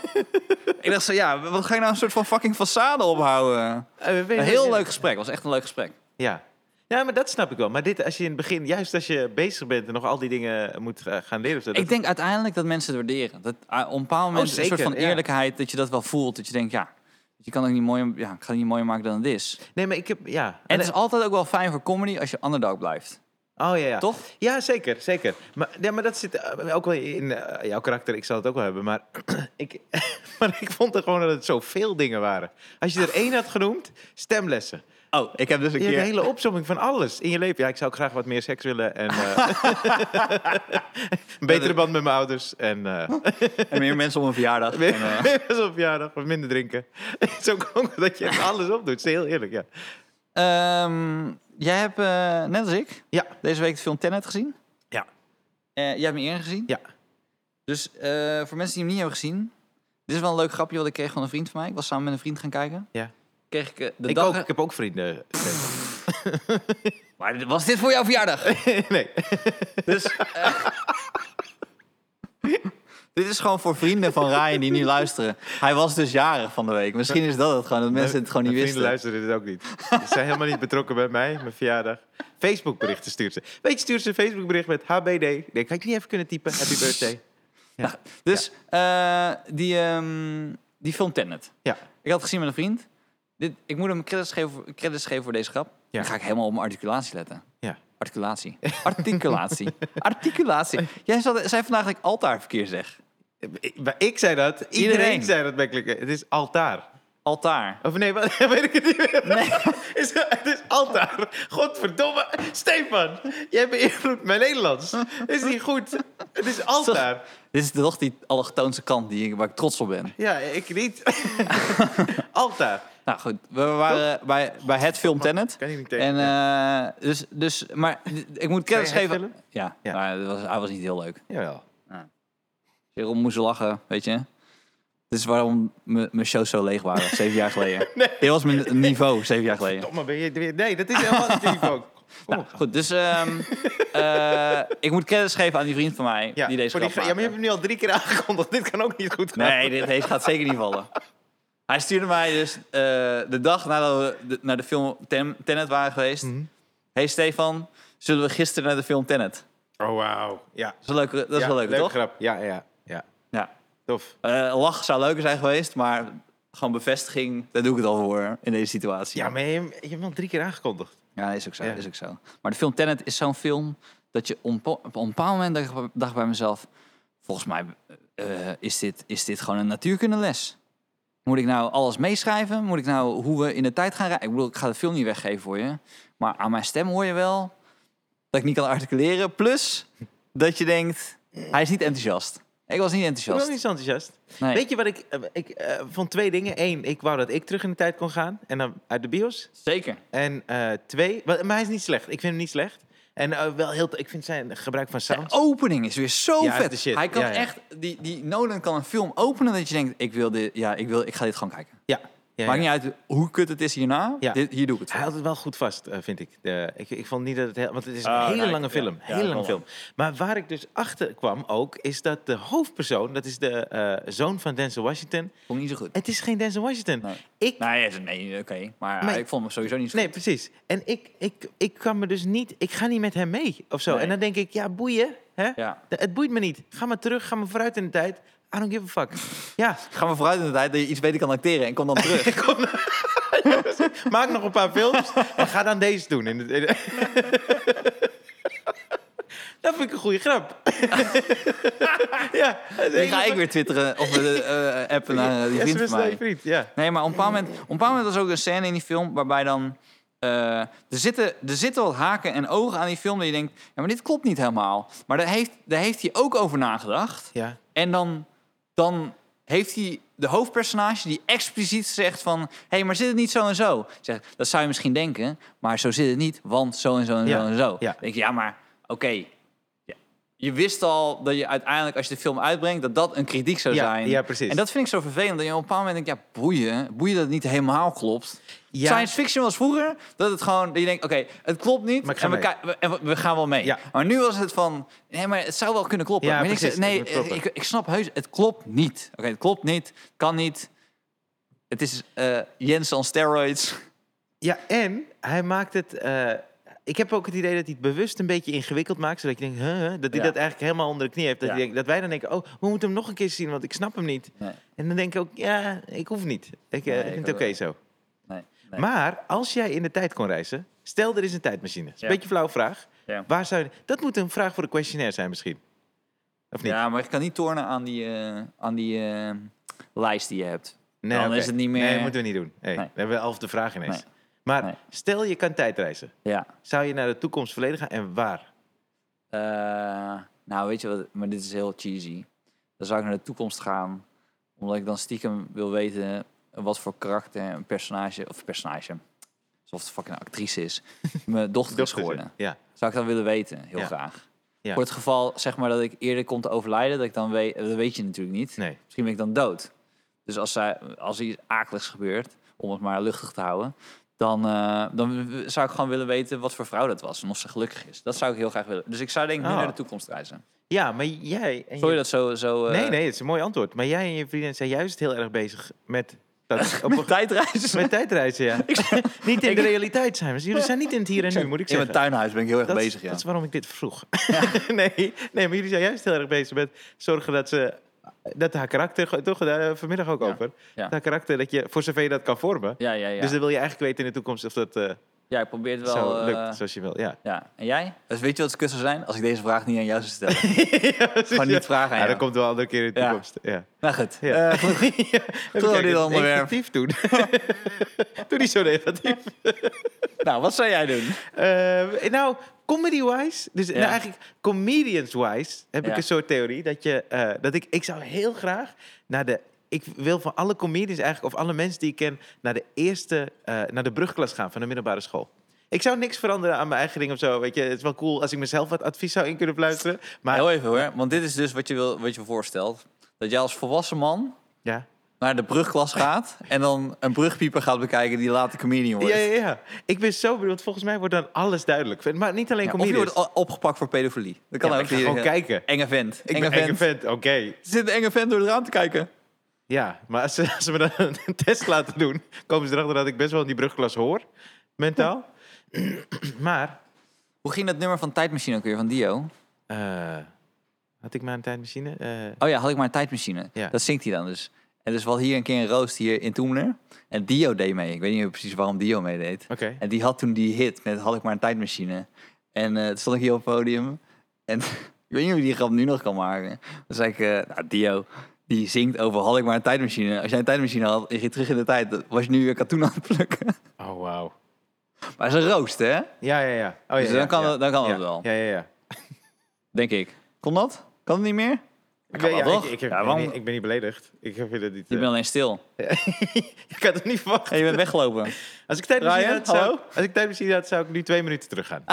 ik dacht zo, ja, wat ga je nou een soort van fucking façade ophouden? Eh, weet Een je- heel leuk gesprek, was echt een leuk gesprek. Ja. ja, maar dat snap ik wel. Maar dit, als je in het begin, juist als je bezig bent en nog al die dingen moet eh, gaan leren. Of zo, dat- Ik denk uiteindelijk dat mensen het waarderen. Dat ah, op een bepaald moment is er een soort zeker, van ja. eerlijkheid dat je dat wel voelt. Dat je denkt, ja, je kan het niet mooier, ja, ik ga het niet mooier maken dan het is. Nee, maar ik heb, ja. En het is altijd ook wel fijn voor comedy als je underdog blijft. Oh ja, ja. Toch? Ja, zeker, zeker. Maar, ja, maar dat zit eh, ook wel in eh, jouw karakter. Ik zal het ook wel hebben. Maar ik, maar ik vond er gewoon dat het zoveel dingen waren. Als je er één had genoemd, stemlessen. Oh, ik heb dus een Je hebt keer... een hele opzomming van alles in je leven. Ja, ik zou ook graag wat meer seks willen. En eh, een betere band met mijn ouders. En eh En meer mensen op een verjaardag. En, eh, meer op verjaardag. Of minder drinken. Het is ook ook dat je echt alles opdoet. Het is heel eerlijk, ja. ehm, jij hebt, eh, net als ik, Ja, deze week de film Tenet gezien. Ja. Eh, jij hebt me eerder gezien. ja. Dus eh, voor mensen die hem niet hebben gezien... Dit is wel een leuk grapje wat ik kreeg van een vriend van mij. Ik was samen met een vriend gaan kijken. Ja. Kreeg ik eh, de Ik, dag... ook, ik heb ook vrienden. Maar was dit voor jouw verjaardag? nee. Dus. eh, dit is gewoon voor vrienden van Ryan die nu luisteren. Hij was dus jarig van de week. Misschien is dat het gewoon, dat mensen het gewoon niet Mijn wisten. vrienden luisteren dit ook niet. Ze zijn helemaal niet betrokken bij mij, mijn verjaardag. Facebookberichten stuurt ze. Weet je, stuurt ze een Facebookbericht met HBD. Ik Denk, had ik niet even kunnen typen. Happy birthday. Dus eh, die, ehm, die film Tenet. Ja. Ik had het gezien met een vriend. Dit, ik moet hem credits geven, voor- credits geven voor deze grap. Ja. Dan ga ik helemaal op mijn articulatie letten. Ja. Articulatie. Articulatie. Articulatie. Jij zat- zei vandaag dat ik altaarverkeer zeg. Ik, maar ik zei dat. Iedereen, Iedereen. zei dat werkelijk. Het is altaar. Altaar. Of nee, wat, weet ik het niet meer. Nee. Is- het is altaar. Godverdomme. Stefan, jij beïnvloedt mijn Nederlands. Is niet goed. Het is altaar. Dit is toch die allochtoonse kant die, ik- waar ik trots op ben. Ja, ik niet. altaar. Nou goed, we waren bij, bij het film Tenet. Kan je niet tegen. En, eh, dus, dus, maar d- ik moet kennis Bij het geven. film? Ja, Ja. Maar dat was, hij was niet heel leuk. Jawel. Jeroen moest lachen, weet je. Dit is waarom m- mijn shows zo leeg waren, zeven jaar geleden. Dit was mijn niveau, zeven jaar geleden. Domme ben je weer. Nee, dat is helemaal niet die ook. Kom op. Goed, dus ehm, eh, ik moet kennis geven aan die vriend van mij die deze voor grap ja, maar je maakte. hebt hem nu al drie keer aangekondigd. Dit kan ook niet goed gaan. Nee, dit, deze gaat zeker niet vallen. Hij Hij stuurde mij dus eh, de dag nadat we de- naar de film Ten- Tenet waren geweest. Mhm. Hey Stefan, zullen we gisteren naar de film Tenet? Oh, wauw. Ja. Dat is, wel leuk, dat is Ja, wel leuk, leuke toch? grap. Ja, ja, ja. Ja. Tof. Eh, lach zou leuker zijn geweest, maar gewoon bevestiging, daar doe ik het al voor in deze situatie. Ja, maar je, je hebt al drie keer aangekondigd. Ja, is ook zo, Ja. is ook zo. Maar de film Tenet is zo'n film dat je op een op een bepaald moment dacht, ik- dacht ik bij mezelf... Volgens mij eh, is, dit, is dit gewoon een natuurkundeles. Moet ik nou alles meeschrijven? Moet ik nou hoe we in de tijd gaan rijden? Ik bedoel, ik ga de film niet weggeven voor je. Maar aan mijn stem hoor je wel dat ik niet kan articuleren. Plus dat je denkt, hij is niet enthousiast. Ik was niet Ik ben ook enthousiast. niet zo enthousiast. Nee. Weet je wat ik... eh, ik eh, vond twee dingen. Eén, ik wou dat ik terug in de tijd kon gaan. En dan uit de bios. Zeker. En eh, twee... wa- Maar hij is niet slecht. Ik vind hem niet slecht. En eh, wel heel... Ik vind zijn gebruik van De sound... opening is weer zo Ja, vet. de shit. Hij kan Ja, ja. echt, die, die Nolan kan een film openen dat je denkt, ik wil dit, ja, ik wil, ik ga dit gewoon kijken. Ja. ja, ja. oh. Maakt niet uit hoe kut het is hierna. Ja. Dit, hier doe ik het Hij voor. houdt het wel goed vast, eh, vind ik. De, ik. Ik vond niet dat het heel... Want het is een Ah, hele nou, ik- lange ja, film. ja, hele ik lange wel. film. Maar waar ik dus achter kwam ook, is dat de hoofdpersoon... Dat is de eh, zoon van Denzel Washington. Vond ik niet zo goed. Het is geen Denzel Washington. Nee. Ik... Nee, het- nee oké. Maar Nee. ik vond hem sowieso niet zo Nee, precies. En ik, ik, ik kan me dus niet... Ik ga niet met hem mee of zo. Nee. En dan denk ik, ja, boeien. Hè? goed. Ja. D- Het boeit me niet. Ga maar terug, ga maar vooruit in de tijd. I don't give a fuck. Ja, Ga maar vooruit in de tijd dat je iets beter kan acteren en kom dan terug. maak nog een paar films. En ga dan deze doen. In het- in- dat vind ik een goede grap. ja, dat is Dan een ga ik weer twitteren of eh, eh, appen naar eh, die hele- vriend SMS van naar je mij. vriend. Ja. Nee, maar op een bepaald moment, op een bepaald moment was er ook een scène in die film waarbij dan... eh, er, zitten, er zitten wat haken en ogen aan die film dat je denkt... Ja, maar dit klopt niet helemaal. Maar daar heeft, daar heeft hij ook over nagedacht. Ja. En dan, dan heeft hij de hoofdpersonage die expliciet zegt van... Hé, hey, maar zit het niet zo en zo? Ik Zeg, dat zou je misschien denken, maar zo zit het niet. Want zo en zo en Ja, zo en zo. ja. Dan Denk je, ja, maar oké. Ja. Je wist al dat je uiteindelijk, als je de film uitbrengt... dat dat een kritiek zou Ja, zijn. ja, precies. En dat vind ik zo vervelend. Dat je op een bepaald moment denkt, ja, boeien. Boeien dat het niet helemaal klopt. Ja. Science fiction was vroeger dat het gewoon... Dat je denkt, oké, het klopt niet. Maar ik ga en we, mee. ki- we- en we- we gaan wel mee. Ja. Maar nu was het van... Nee, maar het zou wel kunnen kloppen. Ja, Maar ik zeg, precies, het moet nee, kloppen. ik, ik snap heus, het klopt niet. Oké, het klopt niet, kan niet. Het is eh Jens on steroids. Ja, en hij maakt het. eh, ik heb ook het idee dat hij het bewust een beetje ingewikkeld maakt. Zodat je denkt, huh, huh, dat hij Ja. dat eigenlijk helemaal onder de knie heeft. Dat, Ja. hij denkt, dat wij dan denken, oh, we moeten hem nog een keer zien, want ik snap hem niet. Nee. En dan denk ik ook, ja, ik hoef niet. Ik, eh, Nee, ik ik vind het ook oké wel. zo. Nee, Maar als jij in de tijd kon reizen, stel er is een tijdmachine. Dat is een Ja. beetje een flauw vraag. Ja. Waar zou je, dat moet een vraag voor de questionnaire zijn misschien. Of niet? Ja, maar ik kan niet tornen aan die, eh, aan die eh, lijst die je hebt. nee, dan oké. is het niet meer- Nee, moeten we niet doen. Hey, Nee. We hebben al de vraag ineens. Nee. Maar Nee. stel je kan tijdreizen. Ja. Zou je naar de toekomst verleden gaan en waar? Eh, nou, weet je wat, maar dit is heel cheesy. Dan zou ik naar de toekomst gaan, omdat ik dan stiekem wil weten wat voor karakter een personage, of personage, alsof het fucking een actrice is, mijn dochter is Dochter geworden. Ja. Zou ik dan willen weten, heel Ja. graag. Ja. Voor het geval, zeg maar, dat ik eerder kom te overlijden, dat ik dan weet, dat weet je natuurlijk niet. Nee. Misschien ben ik dan dood. Dus als, zij, als er iets akeligs gebeurt, om het maar luchtig te houden, dan, eh, dan w- zou ik gewoon willen weten wat voor vrouw dat was en of ze gelukkig is. Dat zou ik heel graag willen. Dus ik zou denk ik nu Ah. naar de toekomst reizen. Ja, maar jij... En Sorry je- dat zo... zo eh, Nee, nee, het is een mooi antwoord. Maar jij en je vriendin zijn juist heel erg bezig met... Dat, op, Met tijdreizen. met tijdreizen, ja. niet in de realiteit zijn we. Jullie zijn niet in het hier en nu, moet ik In mijn zeggen. tuinhuis ben ik heel erg Dat, is- bezig, ja. dat is waarom ik dit vroeg. nee, nee, maar jullie zijn juist heel erg bezig met zorgen dat ze... Dat haar karakter, ge- toch, daar hadden we vanmiddag ook Ja, over. ja. Dat haar karakter, dat je, voor zover je dat kan vormen. Ja, ja, ja. Dus dan wil je eigenlijk weten in de toekomst of dat eh, ja, ik probeer het wel... zo eh, lukt zoals je wil. Ja. ja. En jij? Dus weet je wat het kut zou zijn? Als ik deze vraag niet aan jou zou stellen. Ja, precies, Gewoon ja. niet vragen Ja, aan jou. dat komt wel een andere keer in de Ja. toekomst. Ja. Nou goed. Ja. Eh, Ja, even kijken, dit onderwerp. negatief doen. Doe niet zo negatief. nou, wat zou jij doen? Eh, nou, comedy-wise, dus nou, Ja. eigenlijk comedians-wise, heb ik Ja. een soort theorie dat je eh, dat ik ik zou heel graag naar de ik wil van alle comedians eigenlijk of alle mensen die ik ken naar de eerste eh, naar de brugklas gaan van de middelbare school. Ik zou niks veranderen aan mijn eigen ding of zo. Weet je, het is wel cool als ik mezelf wat advies zou in kunnen fluisteren. Maar Heel even hoor, want dit is dus wat je, wil, wat je voorstelt. Dat jij als volwassen man ja. naar de brugklas gaat... en dan een brugpieper gaat bekijken die later comedian wordt. Ja, ja, ja. Ik ben zo bedoeld. Volgens mij wordt dan alles duidelijk. Maar niet alleen Ja, of je comedians. wordt o- opgepakt voor pedofilie. Dat kan Ja, maar ook. ik ga Die- gewoon kijken. Enge vent. Ik enge ben vent. enge vent. Oké. Er zit een enge vent door het raam te kijken. Ja, maar als ze, als ze me dan een test laten doen, komen ze erachter dat ik best wel in die brugklas hoor, mentaal. maar, Hoe ging dat nummer van Tijdmachine ook weer, van Dio? eh, had ik maar een tijdmachine? Eh, Oh ja, had ik maar een tijdmachine. Ja. Dat zingt hij dan dus. En dus wat hier een keer een roost hier in Toemler. En Dio deed mee. Ik weet niet meer precies waarom Dio meedeed. Oké. En die had toen die hit met Had ik maar een tijdmachine. En eh toen stond ik hier op het podium. En ik weet niet of je die grap nu nog kan maken. Dan zei ik, eh, nou Dio, die zingt over Had ik maar een tijdmachine. Als jij een tijdmachine had en je ging terug in de tijd, dan was je nu weer katoen aan het plukken. Oh, wauw. Maar het is een roost, hè? Ja, ja, ja. Oh, ja, Dus dan ja, kan ja. het- dan kan ja. het wel. Ja, ja, ja. Denk ik. Kon dat? Kan het niet meer? Ik, kan weet- wel ja, toch? ik, ik heb- Ja, ik ben waarom- niet- ik ben niet beledigd. Ik heb jullie niet... Je eh, bent alleen stil. ik had het niet verwacht. En je bent weggelopen. Als ik tijdmachine Ryan, had, zou, hallo? als ik tijdmachine had, zou ik nu twee minuten teruggaan.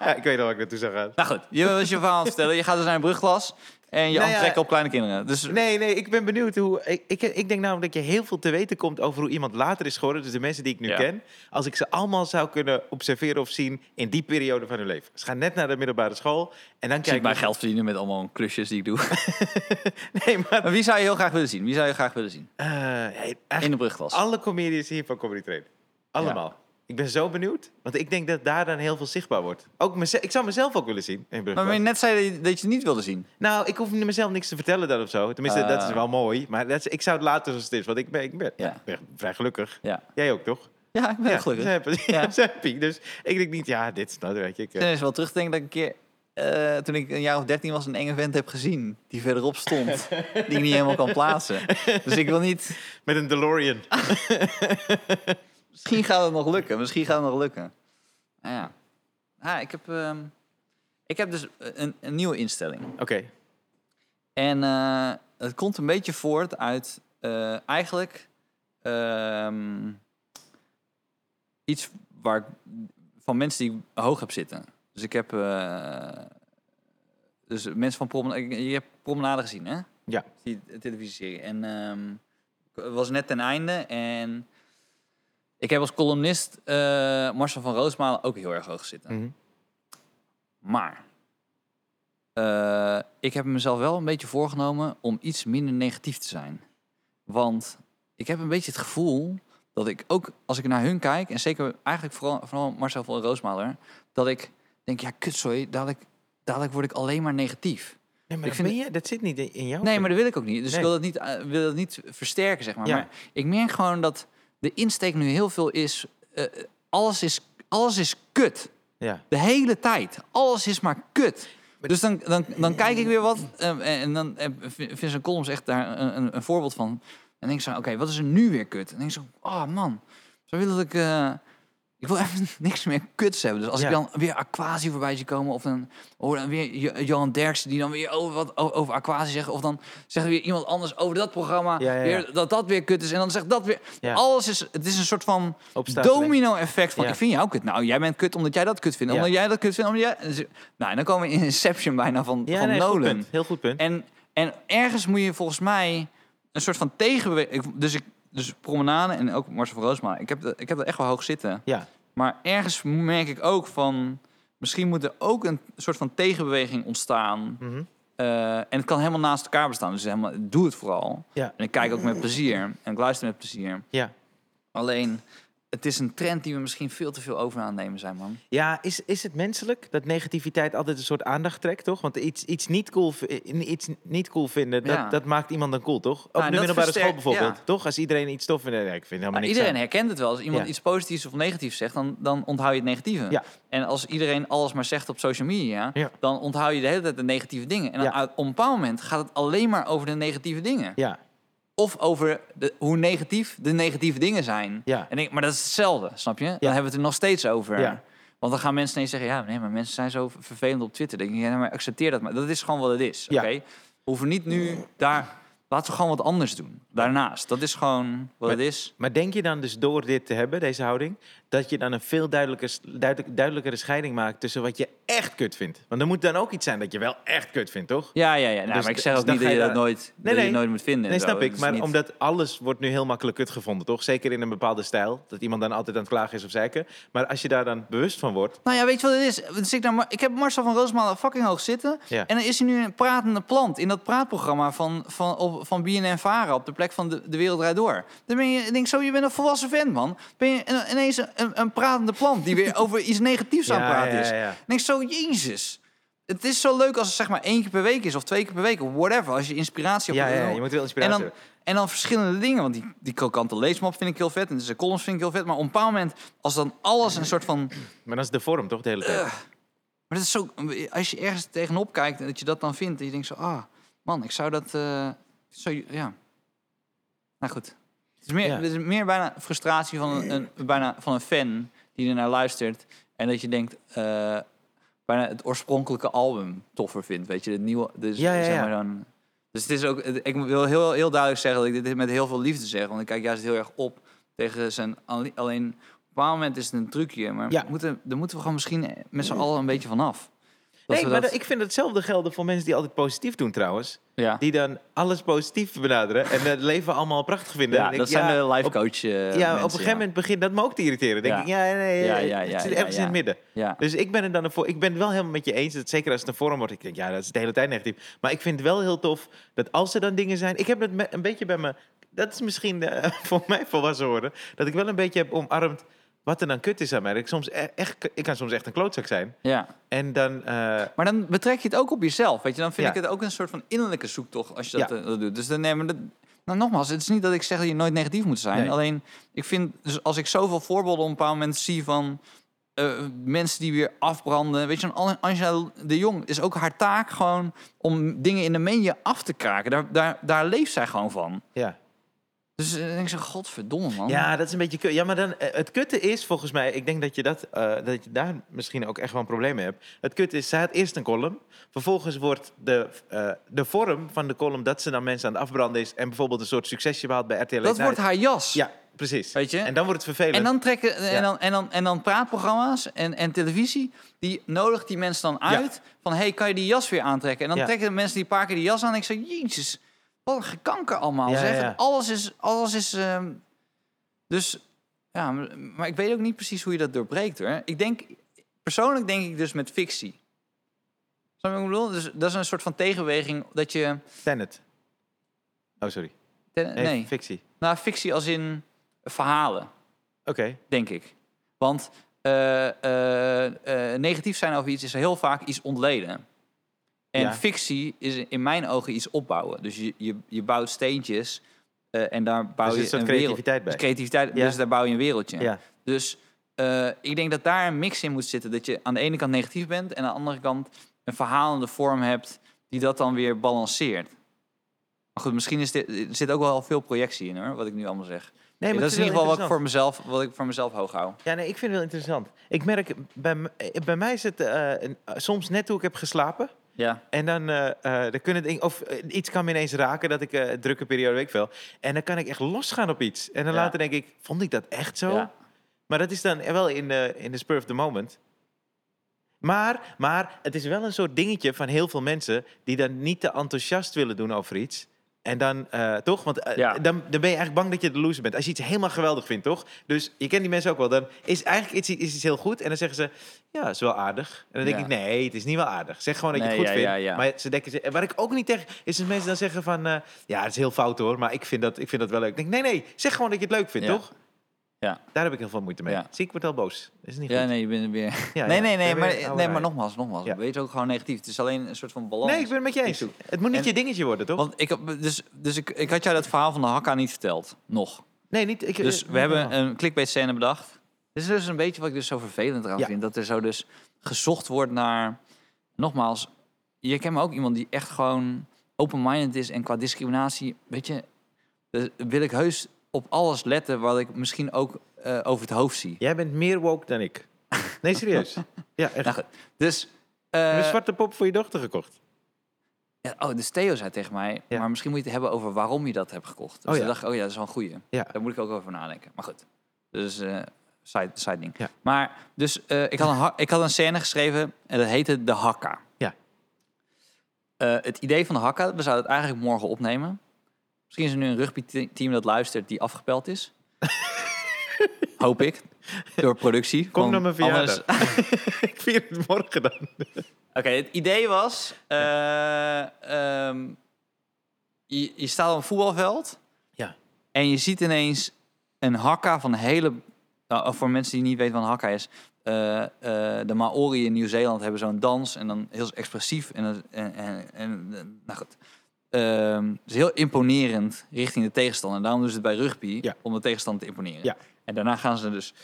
ja, ik weet al waar ik naartoe zou gaan. Nou goed, je wil dus je verhaal vertellen. Je gaat dus naar een brugglas en je Nou ja, aftrekken op kleine kinderen. Dus Nee, nee, ik ben benieuwd hoe. Ik, ik, ik denk namelijk dat je heel veel te weten komt over hoe iemand later is geworden. Dus de mensen die ik nu Ja. ken. Als ik ze allemaal zou kunnen observeren of zien in die periode van hun leven. Ze gaan net naar de middelbare school en dan ik zie kijk mijn geld verdienen met allemaal klusjes die ik doe. Nee, maar. maar wie zou je heel graag willen zien? Wie zou je graag willen zien? eh, hey, In de eigenlijk brugglas. alle comedians hier van Comedy Train. Allemaal. Ik ben zo benieuwd, want ik denk dat daar dan heel veel zichtbaar wordt. Ook meze- ik zou mezelf ook willen zien in Maar Brugge. je net zei dat je- dat je het niet wilde zien. Nou, ik hoef mezelf niks te vertellen dan of zo. Tenminste, dat is Ah. wel mooi. Maar dat is, ik zou het later zoals het is, want ik ben, ik ben, Ja. ik ben vrij gelukkig. Ja, Jij ook, toch? ja ik ben heel gelukkig. ze Ik hebben- Ja. ze hebben piek. Dus ik denk niet, ja, dit is nou, weet je. Ik, eh, ben eens wel terug te denken dat ik een keer... eh, toen ik een jaar of dertien was, een enge vent heb gezien. Die verderop stond. die ik niet helemaal kan plaatsen. Dus ik wil niet... met een DeLorean. Misschien gaat het nog lukken. Misschien gaat het nog lukken. Nou ja. Ah, ik heb... ehm, ik heb dus een, een nieuwe instelling. Oké. En eh, het komt een beetje voort uit eh, eigenlijk ehm, iets waar ik- van mensen die ik hoog heb zitten. Dus ik heb eh, dus mensen van promenade. Je hebt promenade gezien, hè? Ja. Die televisieserie. En ehm, ik was net ten einde en ik heb als columnist eh, Marcel van Roosmalen ook heel erg hoog zitten. Mhm. Maar eh, ik heb mezelf wel een beetje voorgenomen om iets minder negatief te zijn. Want ik heb een beetje het gevoel dat ik ook, als ik naar hun kijk, en zeker eigenlijk vooral, vooral Marcel van Roosmaler, dat ik denk, ja kutzooi, dadelijk, dadelijk word ik alleen maar negatief. Nee, maar dat, Ik vind- ben je, dat zit niet in in jou. Nee, maar dat wil ik ook niet. Dus Nee. ik wil dat niet, eh, wil dat niet versterken, zeg maar. Ja. Maar ik merk gewoon dat de insteek nu heel veel is, eh, alles is, alles is kut. Ja. De hele tijd. Alles is maar kut. Dus dan, dan, dan kijk ik weer wat. eh, En, en dan eh, vind vind zijn columns echt daar een, een, een voorbeeld van. En denk ik zo, oké, wat is er nu weer kut? En denk ik zo, oh man. Zo wil dat ik... eh, ik wil even niks meer kuts hebben. Dus als Ja. ik dan weer Aquasi voorbij zie komen... of dan hoor dan weer Jo- Johan Derksen... die dan weer over, wat o- over Aquasi zegt... of dan zegt weer iemand anders over dat programma... Ja, ja, ja. Weer, dat dat weer kut is. En dan zegt dat weer... Ja. Alles is... Het is een soort van Opstapeling. domino-effect van... Ja. ik vind jou kut. Nou, jij bent kut omdat jij dat kut vindt. Ja. Omdat jij dat kut vindt. Omdat jij... en ze- Nou, en dan komen we in Inception bijna van, Ja, van nee, goed Nolan. punt. Heel goed punt. En, en ergens moet je volgens mij een soort van tegenbeweging... ik- Dus, ik, dus Promenade en ook Marcel van Roosma... Ik heb, dat- ik heb dat echt wel hoog zitten. Ja. Maar ergens merk ik ook van... Misschien moet er ook een soort van tegenbeweging ontstaan. Mhm. Eh, en het kan helemaal naast elkaar bestaan. Dus helemaal, doe het vooral. Ja. En ik kijk ook met plezier. En ik luister met plezier. Ja. Alleen, het is een trend die we misschien veel te veel over aannemen zijn, man. Ja, is, is het menselijk dat negativiteit altijd een soort aandacht trekt, toch? Want iets, iets, niet, cool, v- eh, iets niet cool vinden, dat, Ja. dat maakt iemand dan cool, toch? Op en de dat middelbare school versterkt- bijvoorbeeld, ja. toch? Als iedereen iets tof vindt, nee, ik vind helemaal Maar niks iedereen aan. herkent het wel. Als iemand Ja. iets positiefs of negatiefs zegt, dan, dan onthoud je het negatieve. Ja. En als iedereen alles maar zegt op social media, Ja. dan onthoud je de hele tijd de negatieve dingen. En dan Ja. uit- op een bepaald moment gaat het alleen maar over de negatieve dingen. Ja, Of over de, hoe negatief de negatieve dingen zijn. Ja. En ik, maar dat is hetzelfde, snap je? Dan hebben we het er nog steeds over. Ja. Want dan gaan mensen ineens zeggen, ja, nee, maar mensen zijn zo vervelend op Twitter. Dan Denk ik, ja, maar accepteer dat maar. Dat is gewoon wat het is, Ja. oké? We hoeven niet nu daar... Laten we gewoon wat anders doen. Daarnaast. Dat is gewoon wat Maar- het is. Maar denk je dan dus door dit te hebben, deze houding, dat je dan een veel duidelijker, duidelijk, duidelijkere scheiding maakt tussen wat je echt kut vindt. Want er moet dan ook iets zijn dat je wel echt kut vindt, toch? Ja, ja, ja. Nou, Dus- maar ik zeg dus ook dan niet ga je dat je dat daar- nooit, dat nee. je nooit moet vinden. en Nee, zo. snap Dat ik. is Maar niet- omdat alles wordt nu heel makkelijk kut gevonden, toch? Zeker in een bepaalde stijl. Dat iemand dan altijd aan het klagen is of zeiken. Maar als je daar dan bewust van wordt... Nou ja, weet je wat het is? Dan zit ik, nou, maar- ik heb Marcel van Roosmalen fucking hoog zitten. Ja. En dan is hij nu een pratende plant in dat praatprogramma van, van, op, van BNN Vara op de plek van de, de Wereld Draait Door. Dan ben je, ik denk zo, je bent een volwassen vent, man. Ben je een- ineens een, een pratende plant die weer over iets negatiefs aan het Ja, praten ja, is. ja, ja. Ik denk zo, jezus. Het is zo leuk als het zeg maar één keer per week is of twee keer per week of whatever. Als je inspiratie op Ja, wil- ja, je moet wel en inspiratie dan, en dan verschillende dingen, want die, die krokante leesmap vind ik heel vet en zijn columns vind ik heel vet. Maar op een bepaald moment, als dan alles een soort van... Maar dat is de vorm, toch? De hele Eh, tijd. Maar dat is zo, als je ergens tegenop kijkt en dat je dat dan vindt, en je denkt zo, ah, man, ik zou dat, eh, zo, ja. Nou goed, het is meer, Ja. het is meer bijna frustratie van een, een- bijna van een fan die ernaar luistert en dat je denkt, eh, bijna het oorspronkelijke album toffer vindt, weet je, het nieuwe, dus Ja, ja, zeg ja. maar dan. Dus het is ook, het- ik wil heel, heel duidelijk zeggen dat ik dit met heel veel liefde zeg, want ik kijk juist heel erg op tegen zijn, alle- alleen. Op een bepaald moment is het een trucje, maar Ja. we moeten, daar moeten we gewoon misschien met z'n allen een beetje vanaf. Dat Nee, we maar dat- dat- ik vind hetzelfde gelden voor mensen die altijd positief doen, trouwens. ja. Die dan alles positief benaderen en het leven allemaal prachtig vinden. ja, En ik dat denk, zijn de life op- coach eh, Ja, mensen, op een gegeven moment begint dat me ook te irriteren. Dan denk Ja. ik, ja, nee, eh, Ja, ja, ja, het zit ja, ergens ja. in het midden. Ja. Dus ik ben, er dan voor, ik ben het wel helemaal met je eens. Dat zeker als het een vorm wordt. Ik denk, ja, dat is de hele tijd negatief. Maar ik vind het wel heel tof dat als er dan dingen zijn... Ik heb het me- een beetje bij me... Dat is misschien eh, voor mij volwassen worden. Dat ik wel een beetje heb omarmd wat er dan kut is aan mij. Dat Ik, soms e- echt, ik kan soms echt een klootzak zijn. Ja. En dan... eh, Maar dan betrek je het ook op jezelf, weet je. Dan vind Ja. ik het ook een soort van innerlijke zoektocht als je dat, Ja. eh, dat doet. Dus dan nemen dat... Nou, nogmaals, het is niet dat ik zeg dat je nooit negatief moet zijn. Nee. Alleen, ik vind, dus als ik zoveel voorbeelden op een bepaald moment zie van... eh, mensen die weer afbranden. Weet je, An- Angela de Jong is ook haar taak gewoon om dingen in de media af te kraken. Daar, daar, daar leeft zij gewoon van. ja. Dus eh, dan denk ik zo, godverdomme man. Ja, dat is een beetje kut. Ja, maar dan, eh, het kutte is volgens mij, ik denk dat je, dat, eh, dat je daar misschien ook echt wel een probleem mee hebt. Het kutte is, zij had eerst een column. Vervolgens wordt de, eh, de vorm van de column dat ze dan mensen aan het afbranden is. En bijvoorbeeld een soort succesje behaalt bij RTL. dat wordt haar jas. nou, Ja, precies. Weet je? En dan wordt het vervelend. En dan trekken en Ja. dan, en dan, en dan praatprogramma's en, en televisie, die nodigt die mensen dan Ja. uit. Van hey, kan je die jas weer aantrekken? En dan Ja. trekken de mensen die een paar keer die jas aan. En ik zeg, Jezus, wat een gekanker allemaal. Ja, zeg. ja. Alles is. Alles is ehm, dus ja, maar, maar ik weet ook niet precies hoe je dat doorbreekt hoor. Ik denk, persoonlijk denk ik dus met fictie. Snap je wat ik bedoel? Dus dat is een soort van tegenweging dat je. Tenet. Oh, sorry. ten- Nee, nee, fictie. nou, fictie als in verhalen Oké. denk ik. Want eh, eh, eh, negatief zijn over iets is heel vaak iets ontleden. En Ja. fictie is in mijn ogen iets opbouwen. Dus je, je, je bouwt steentjes eh, en daar bouw Dus er je zit een een wereld. creativiteit Dus bij. creativiteit, Ja. dus daar bouw je een wereldje. Ja. Dus eh, ik denk dat daar een mix in moet zitten. Dat je aan de ene kant negatief bent en aan de andere kant een verhalende vorm hebt die dat dan weer balanceert. Maar goed, misschien is dit, er zit ook wel veel projectie in hoor, wat ik nu allemaal zeg. Nee, dat is in wel ieder geval wat ik, interessant. voor mezelf, wat ik voor mezelf hoog hou. Ja, nee, ik vind het wel interessant. Ik merk, bij, m- eh, bij mij is het eh, een- soms net hoe ik heb geslapen. Ja. En dan, eh, eh, dan kunnen dingen, of eh, iets kan me ineens raken dat ik eh, drukke periode week veel. En dan kan ik echt losgaan op iets. En dan Ja. later denk ik, vond ik dat echt zo? Ja. Maar dat is dan wel in de, in de spur of the moment. Maar, maar het is wel een soort dingetje van heel veel mensen die dan niet te enthousiast willen doen over iets. En dan, eh, toch? Want eh, Ja. dan, dan ben je eigenlijk bang dat je de loser bent. Als je iets helemaal geweldig vindt, toch? Dus je kent die mensen ook wel. Dan is eigenlijk iets, is iets heel goed. En dan zeggen ze, ja, is wel aardig. En dan denk Ja. ik, nee, het is niet wel aardig. Zeg gewoon dat je Nee, het goed ja, vindt. ja, ja. Maar ze denken, ze- en waar ik ook niet tegen is dat mensen dan zeggen van, eh, ja, het is heel fout hoor, maar ik vind dat, ik vind dat wel leuk. Ik denk, nee, nee, zeg gewoon dat je het leuk vindt, Ja. toch? Ja. Daar heb ik heel veel moeite mee. Ja. Zie ik, word al boos. Dat is niet Ja, goed. nee, je bent er weer. Ja, nee, ja, nee, ik nee, ben weer maar, oude nee, rij. maar nogmaals, nogmaals. Ja. Weet ook gewoon negatief. Het is alleen een soort van balans. Nee, ik ben het met je eens. zoek. Het moet niet En- je dingetje worden, toch? Want ik, heb- dus, dus ik, ik had jou dat verhaal van de hakka niet verteld. Nog. nee, niet. Ik, Dus eh, we oh. hebben een clickbait scène bedacht. Dit is dus een beetje wat ik dus zo vervelend eraan Ja. vind. Dat er zo dus gezocht wordt naar... Nogmaals, je kent me ook iemand die echt gewoon open-minded is. En qua discriminatie, weet je... dus wil ik heus op alles letten wat ik misschien ook eh, over het hoofd zie. Jij bent meer woke dan ik. Nee, serieus. ja, echt. Nou goed, dus... Heb je eh, een zwarte pop voor je dochter gekocht. Ja, oh, dus Theo zei tegen mij, Ja. maar misschien moet je het hebben over waarom je dat hebt gekocht. Dus Oh, ja. toen dacht ik, oh ja, dat is wel een goeie. Ja. Daar moet ik ook over nadenken. Maar goed, dus eh, side, side ding. Ja. Maar dus eh, ik, had een, ha- ik had een scène geschreven en dat heette De Hakka. Ja. Eh, het idee van de Hakka, we zouden het eigenlijk morgen opnemen. Misschien is er nu een rugbyteam dat luistert die afgepeld is. Hoop ik. Door productie. Kom want naar mijn anders- verjaardag. ik vier het morgen dan. Oké, het idee was... eh, ehm, je, je staat op een voetbalveld Ja. en je ziet ineens een hakka van hele... nou, voor mensen die niet weten wat een hakka is... eh, eh, de Maori in Nieuw-Zeeland hebben zo'n dans en dan heel expressief. En, dan- en, en, en nou goed. Ehm, het is heel imponerend richting de tegenstander. Daarom doen ze het bij rugby, Ja. om de tegenstander te imponeren. Ja. En daarna gaan ze dus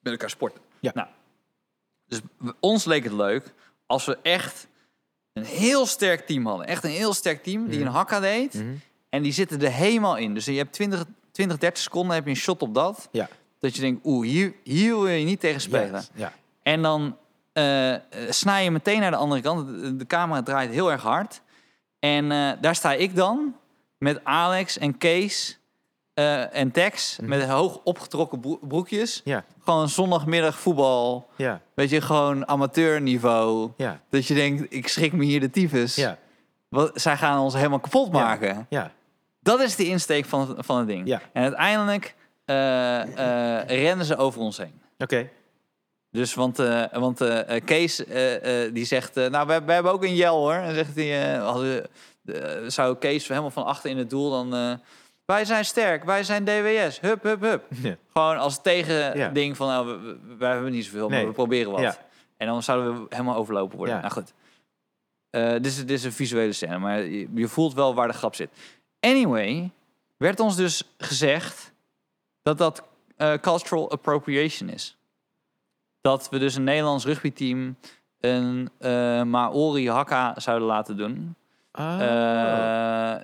met elkaar sporten. Ja. Nou, dus w- ons leek het leuk als we echt een heel sterk team hadden. Echt een heel sterk team Mhm. die een hakka deed. En die zitten er helemaal in. Dus je hebt 20, 20 30 seconden heb je een shot op dat. Ja. Dat je denkt, oeh, hier, hier wil je niet tegen spelen. Yes, Ja. En dan eh, eh, snij je meteen naar de andere kant. De, de camera draait heel erg hard. En eh, daar sta ik dan met Alex en Kees eh, en Tex. Met hoog opgetrokken broe- broekjes. Mhm. Ja. Gewoon zondagmiddag voetbal. Ja. Weet je, gewoon amateurniveau. Ja. Dat je denkt, ik schrik me hier de tyfus. Ja. Wat, zij gaan ons helemaal kapot maken. Ja. Dat is de insteek van, van het ding. Ja. En uiteindelijk eh, eh, rennen ze over ons heen. Oké. Dus, want, eh, want eh, eh, Kees eh, eh, die zegt, eh, nou, we, we hebben ook een jel hoor. En zegt hij, eh, hadden, eh, zou Kees helemaal van achter in het doel dan... eh, wij zijn sterk, wij zijn DWS, hup, hup, hup. Ja. Gewoon als Ja. tegending van, nou, we- we- wij hebben niet zoveel, Nee. maar we proberen wat. Ja. En dan zouden we helemaal overlopen worden. Ja. Nou goed. Eh, dit, is, dit is een visuele scène, maar je, je voelt wel waar de grap zit. Anyway, werd ons dus gezegd dat dat eh, cultural appropriation is. Dat we dus een Nederlands rugbyteam een eh, Maori hakka zouden laten doen. Ah. Eh,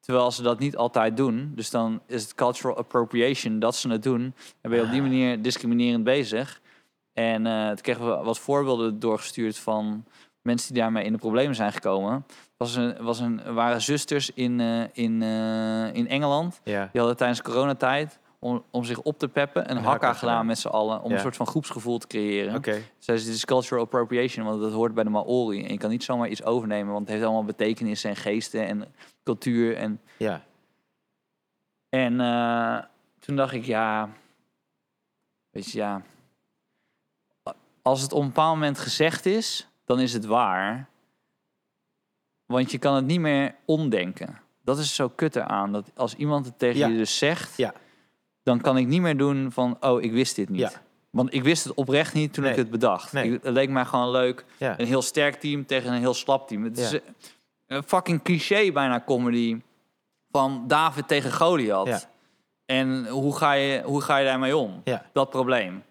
terwijl ze dat niet altijd doen. Dus dan is het cultural appropriation dat ze het doen. Dan ben je op Ah. die manier discriminerend bezig. En eh toen kregen we wat voorbeelden doorgestuurd van mensen die daarmee in de problemen zijn gekomen. Was een, was een, waren zusters in, eh, in, eh, in Engeland. ja. Die hadden tijdens coronatijd, om, om zich op te peppen, een, hakka hakka gedaan gedaan. met z'n allen. Om Ja. een soort van groepsgevoel te creëren. Oké. Zij is dit is cultural appropriation, want dat hoort bij de Maori. En je kan niet zomaar iets overnemen, want het heeft allemaal betekenissen en geesten en cultuur. En, Ja. en eh, toen dacht ik, ja, weet je, ja. Als het op een bepaald moment gezegd is, dan is het waar. Want je kan het niet meer omdenken. Dat is zo kut eraan, dat als iemand het tegen Ja. je dus zegt, Ja. dan kan ik niet meer doen van, oh, ik wist dit niet. Ja. Want ik wist het oprecht niet toen ik Nee. het bedacht. Nee. Ik- het leek mij gewoon leuk. Ja. Een heel sterk team tegen een heel slap team. Het is Ja. een fucking cliché bijna comedy van David tegen Goliath. Ja. En hoe ga, je, hoe ga je daarmee om? Ja. Dat probleem.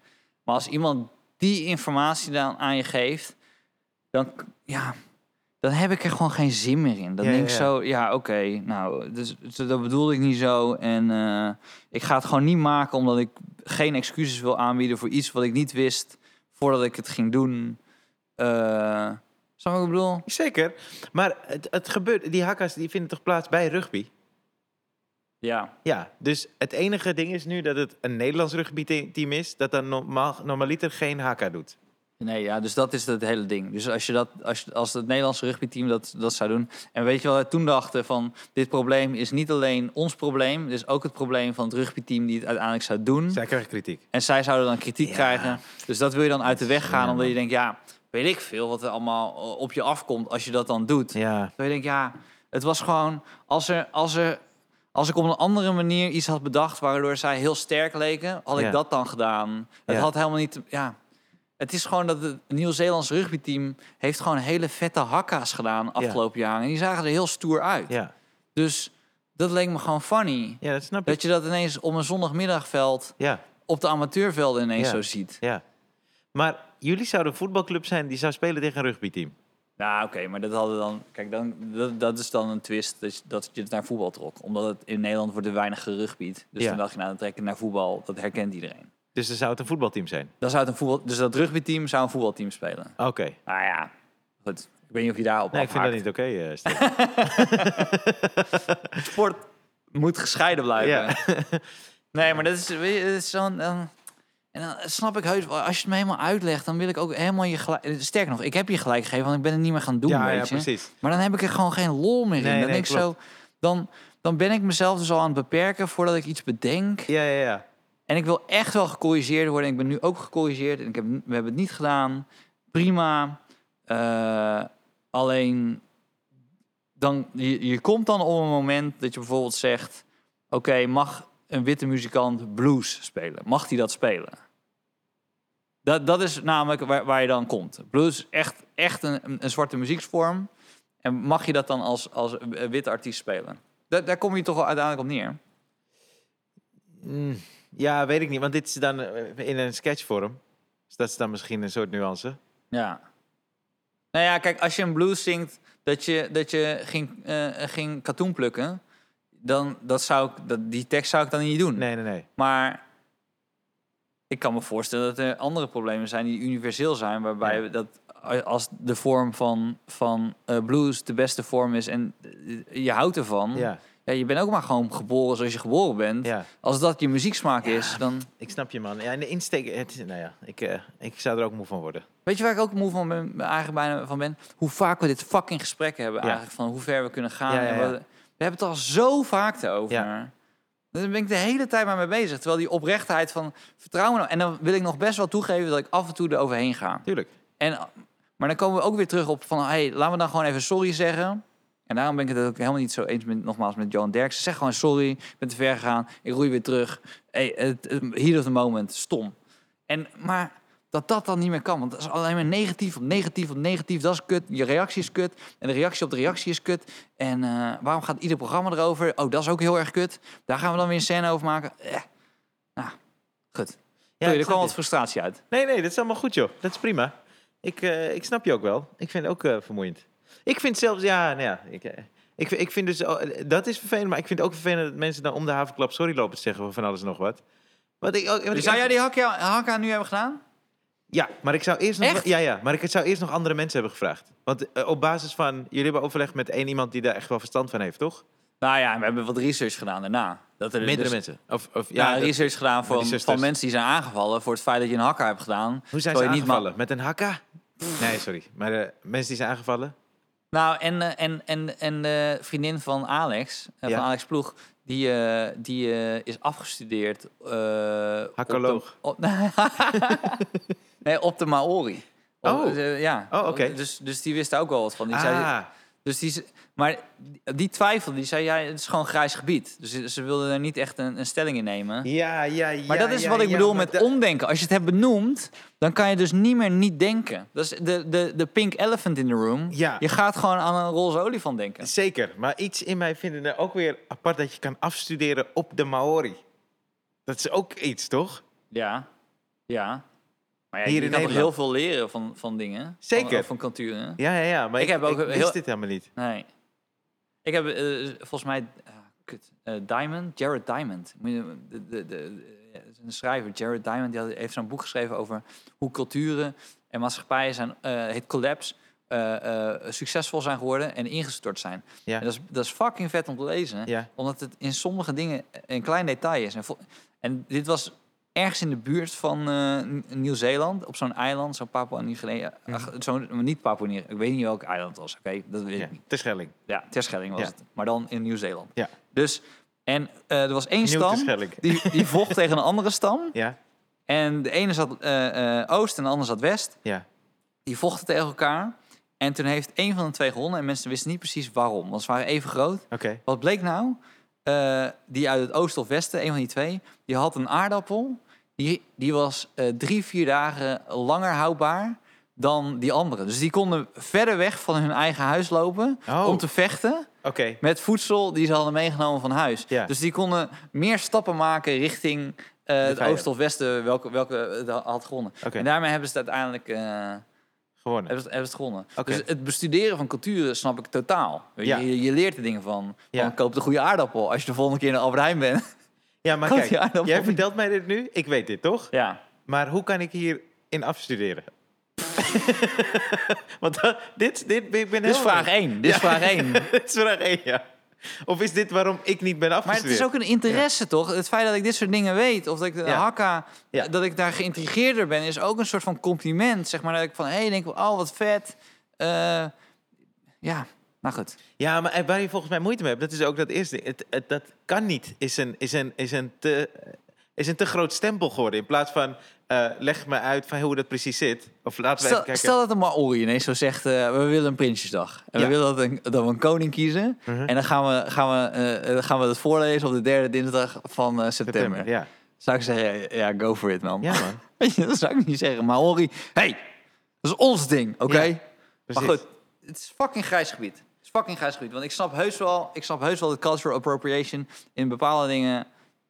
Maar als iemand die informatie dan aan je geeft, dan, k- ja, dan heb ik er gewoon geen zin meer in. Dan Ja, denk ik ja, ja. zo, ja, oké, nou, dus, dus dat bedoelde ik niet zo. En eh, ik ga het gewoon niet maken omdat ik geen excuses wil aanbieden voor iets wat ik niet wist voordat ik het ging doen. Eh snap je wat ik bedoel? Zeker. Maar het, het gebeurt, die hakka's die vinden toch plaats bij rugby? Ja. Ja, dus het enige ding is nu dat het een Nederlands rugbyteam is... dat dan normaal, normaliter geen hakka doet. Nee, ja, dus dat is het hele ding. Dus als je dat, als, je- als het Nederlandse rugbyteam dat, dat zou doen. En weet je wat we toen dachten van dit probleem is niet alleen ons probleem, het is ook het probleem van het rugbyteam die het uiteindelijk zou doen. Zij krijgen kritiek. En zij zouden dan kritiek Ja. krijgen. Dus dat wil je dan uit de weg gaan, Ja, omdat je denkt, ja, weet ik veel wat er allemaal eh, op je afkomt als je dat dan doet. Ja. Dat je denkt, ja, het was gewoon als er, als er, als ik op een andere manier iets had bedacht waardoor zij heel sterk leken, had ik Ja. dat dan gedaan. Het Ja. had helemaal niet, te- ja. Het is gewoon dat het Nieuw-Zeelands rugbyteam heeft gewoon hele vette hakka's gedaan afgelopen jaren. En die zagen er heel stoer uit. Ja. Dus dat leek me gewoon funny. ja, dat snap ik. Dat je dat ineens op een zondagmiddagveld Ja, op de amateurvelden ineens Ja. zo ziet. ja. Maar jullie zouden een voetbalclub zijn die zou spelen tegen een rugbyteam. Nou, oké, maar dat hadden dan. Kijk, dan, dat, dat is dan een twist dat je, dat je het naar voetbal trok. Omdat het in Nederland wordt er weinig gerugbiedt. Dus Ja. dan dacht je, nou, dan trek ik het naar voetbal. Dat herkent iedereen. Dus dan zou het een voetbalteam zijn. Dan zou het een voetbal, dus dat rugbyteam zou een voetbalteam spelen. Oké. Nou ja, goed. Ik weet niet of je daarop Nee, ik vind dat afhaakt. niet oké, eh, Stef. Sport moet gescheiden blijven. Ja. Nee, maar dat is, weet je, dat is zo'n... dan- En dan snap ik heus wel, als je het me helemaal uitlegt, dan wil ik ook helemaal je gelijk... eh, Sterker nog, ik heb je gelijk gegeven, want ik ben het niet meer gaan doen, ja, weet ja, je. precies. Maar dan heb ik er gewoon geen lol meer in. Nee, dan, nee, denk ik zo, dan, dan ben ik mezelf dus al aan het beperken voordat ik iets bedenk. Ja, ja, ja. En ik wil echt wel gecorrigeerd worden. Ik ben nu ook gecorrigeerd. En ik heb, we hebben het niet gedaan. Prima. Eh, alleen, dan, je, je komt dan op een moment dat je bijvoorbeeld zegt... Oké, mag een witte muzikant blues spelen? Mag die dat spelen? Dat, dat is namelijk waar, waar je dan komt. Blues is echt, echt een, een- een zwarte muzieksvorm. En mag je dat dan als, als een witte artiest spelen? Daar, daar kom je toch wel uiteindelijk op neer. Mm, ja, weet ik niet, want dit is dan eh, in een sketchvorm. Dus dat is dan misschien een soort nuance. Ja. Nou ja, kijk, als je een blues zingt dat je, dat je ging, eh, ging katoen plukken, dan dat zou ik, dat, die tekst zou ik dan niet doen. Nee, nee, nee. Maar ik kan me voorstellen dat er andere problemen zijn die universeel zijn, waarbij Ja. we dat als de vorm van, van eh, blues de beste vorm is en eh, je houdt ervan, Ja, Ja, je bent ook maar gewoon geboren zoals je geboren bent. ja. Als dat je muzieksmaak is, dan Ik snap je, man. Ja, en de insteek... Het, is- nou ja, ik, eh, ik zou er ook moe van worden. Weet je waar ik ook moe van ben, eigenlijk bijna van ben? Hoe vaak we dit fucking gesprek hebben Ja. eigenlijk. Van hoe ver we kunnen gaan. Ja, ja, en ja. wat- we hebben het al zo vaak over. Ja. Daar ben ik de hele tijd maar mee bezig. Terwijl die oprechtheid van vertrouwen... En dan wil ik nog best wel toegeven dat ik af en toe er overheen ga. Tuurlijk. En, maar dan komen we ook weer terug op van... hey, laten we dan gewoon even sorry zeggen. En daarom ben ik het ook helemaal niet zo eens met, nogmaals met Johan Derksen. Zeg gewoon sorry, ik ben te ver gegaan. Ik roei weer terug. Hey, het, het- heat of the moment, stom. En, maar dat dat dan niet meer kan. Want dat is alleen maar negatief op negatief op negatief. Dat is kut. Je reactie is kut. En de reactie op de reactie is kut. En eh, waarom gaat ieder programma erover? Oh, dat is ook heel erg kut. Daar gaan we dan weer een scène over maken. Eh. Nou, goed. Ja, Sorry, ik er snap kwam je. wat frustratie uit. Nee, nee, dat is allemaal goed, joh. Dat is prima. Ik, eh, ik snap je ook wel. Ik vind het ook eh, vermoeiend. Ik vind zelfs, ja, nou ja. Ik, eh, ik, vind- ik vind dus, oh, eh, dat is vervelend, maar ik vind het ook vervelend dat mensen dan om de havenklap sorry lopen te zeggen voor van alles en nog wat. Wat ik, ook- wat ik Dus Zou jij echt- die hakja- hakka nu hebben gedaan? Ja, maar ik zou eerst nog, Echt? ja, ja, maar ik zou eerst nog andere mensen hebben gevraagd. Want eh, op basis van, jullie hebben overlegd met één iemand die daar echt wel verstand van heeft, toch? Nou ja, we hebben wat research gedaan daarna. Dat er Meerdere dus- Nou, mensen. Of, of Ja, ja, dat- research gedaan van, research van dus. mensen die zijn aangevallen voor het feit dat je een hakker hebt gedaan. hoe zijn terwijl ze je niet aangevallen? Met een hakka? Nee, sorry. Maar eh, mensen die zijn aangevallen? Nou, en, eh, en, en, en de vriendin van Alex, eh, Ja. van Alex Ploeg, die, eh, die eh, is afgestudeerd. eh, op Hakkoloog. de- Op nee, op de Maori. Op- Oh. eh, ja. Oh, oké. Dus, dus die wist daar ook wel wat van. Die zei, ah, Dus die, ze- maar die twijfel, die zei, ja, het is gewoon grijs gebied. Dus ze- ze wilden er niet echt een, een stelling in nemen. ja, ja, ja. Maar dat is ja, wat ik ja, bedoel maar met da- omdenken. Als je het hebt benoemd, dan kan je dus niet meer niet denken. Dat is de, de, de pink elephant in the room. Ja. Je gaat gewoon aan een roze olifant denken. Zeker, maar iets in mij vindt het ook weer apart dat je kan afstuderen op de Maori. Dat is ook iets, toch? Ja. Ja. Maar ja, Hier je in kan toch heel Nederland. veel leren van, van dingen. Zeker. Van, van culturen. Ja, ja, ja. Maar Ik ik, heb ook ik wist heel- dit helemaal niet. Nee. Ik heb eh, volgens mij... ah, kut. Eh, Diamond, Jared Diamond. Moet je- De, de, de, ja, dat is een schrijver, Jared Diamond, die had- heeft zo'n boek geschreven over hoe culturen en maatschappijen zijn, eh, het collapse, eh, eh, succesvol zijn geworden en ingestort zijn. Ja. En dat, is, dat is fucking vet om te lezen, Ja. omdat het in sommige dingen een klein detail is. En, vol- en dit was ergens in de buurt van eh, N- Nieuw-Zeeland, op zo'n eiland, zo'n Papua Nieuw-Guinea, Mhm. ach, zo'n maar niet Papua nieuw ik weet niet welk eiland het was, oké? Dat weet Ja, ik niet. te Schelling. Ja, Terschelling was Ja. het, maar dan in Nieuw-Zeeland. Ja. Dus, en eh, er was één Nieuw stam, Terschelling. die, die vocht tegen een andere stam. Ja, En de ene zat eh, eh, oost en de andere zat west. ja. Die vochten tegen elkaar. En toen heeft één van de twee gewonnen. En mensen wisten niet precies waarom. Want ze waren even groot. Oké. Wat bleek nou? Eh, die uit het oosten of westen, één van die twee, die had een aardappel. Die, die was eh, drie, vier dagen langer houdbaar dan die andere. Dus die konden verder weg van hun eigen huis lopen Oh. om te vechten Oké. met voedsel die ze hadden meegenomen van huis. Ja. Dus die konden meer stappen maken richting eh, het vijand. oosten of westen, welke, welke het had gewonnen. Oké. En daarmee hebben ze het uiteindelijk eh, hebben ze, Gewonnen. het- hebben ze het gewonnen. Oké. Dus het bestuderen van culturen snap ik totaal. Weet Ja. Je, je, je leert er dingen van. Ja. Van, koop de goede aardappel als je de volgende keer in de Albert Heijn bent. Ja, maar Kan kijk, die aardappel jij niet- vertelt mij dit nu. Ik weet dit, toch? ja. Maar hoe kan ik hierin afstuderen? Want eh, dat- dit, dit, ik ben Dit is helemaal- vraag 1. Dit is vraag 1. Dit is vraag één, ja. Of is dit waarom ik niet ben Maar afgestudeerd? het is ook een interesse, toch? Het feit dat ik dit soort dingen weet, of dat ik de Ja. hakka, Ja. dat ik daar geïntrigeerder ben, is ook een soort van compliment. Zeg maar dat ik van, hé, hey, denk ik, oh, wat vet. Eh, ja, nou goed. Ja, maar eh, waar je volgens mij moeite mee hebt, dat is ook dat eerste. ding. Het, het- dat kan niet, is een, is, een, is, een te, is een te groot stempel geworden. In plaats van eh, leg me uit van hoe dat precies zit. Of laten we Stel, even kijken. stel dat een Maori ineens zo zegt, eh, we willen een Prinsjesdag. En Ja. Mhm. we willen dat, een, dat we een koning kiezen. En dan gaan we, gaan, we, eh, eh, gaan we dat voorlezen op de derde dinsdag van eh, september. September, ja. Zou ik zeggen, ja, go for it, man. Ja, man. Weet je, dat zou ik niet zeggen. Maori, hey, dat is ons ding, oké? Ja, maar precies. goed, het is fucking grijs gebied. Het is fucking grijs gebied. Want ik snap heus wel, ik snap heus wel de cultural appropriation in bepaalde dingen.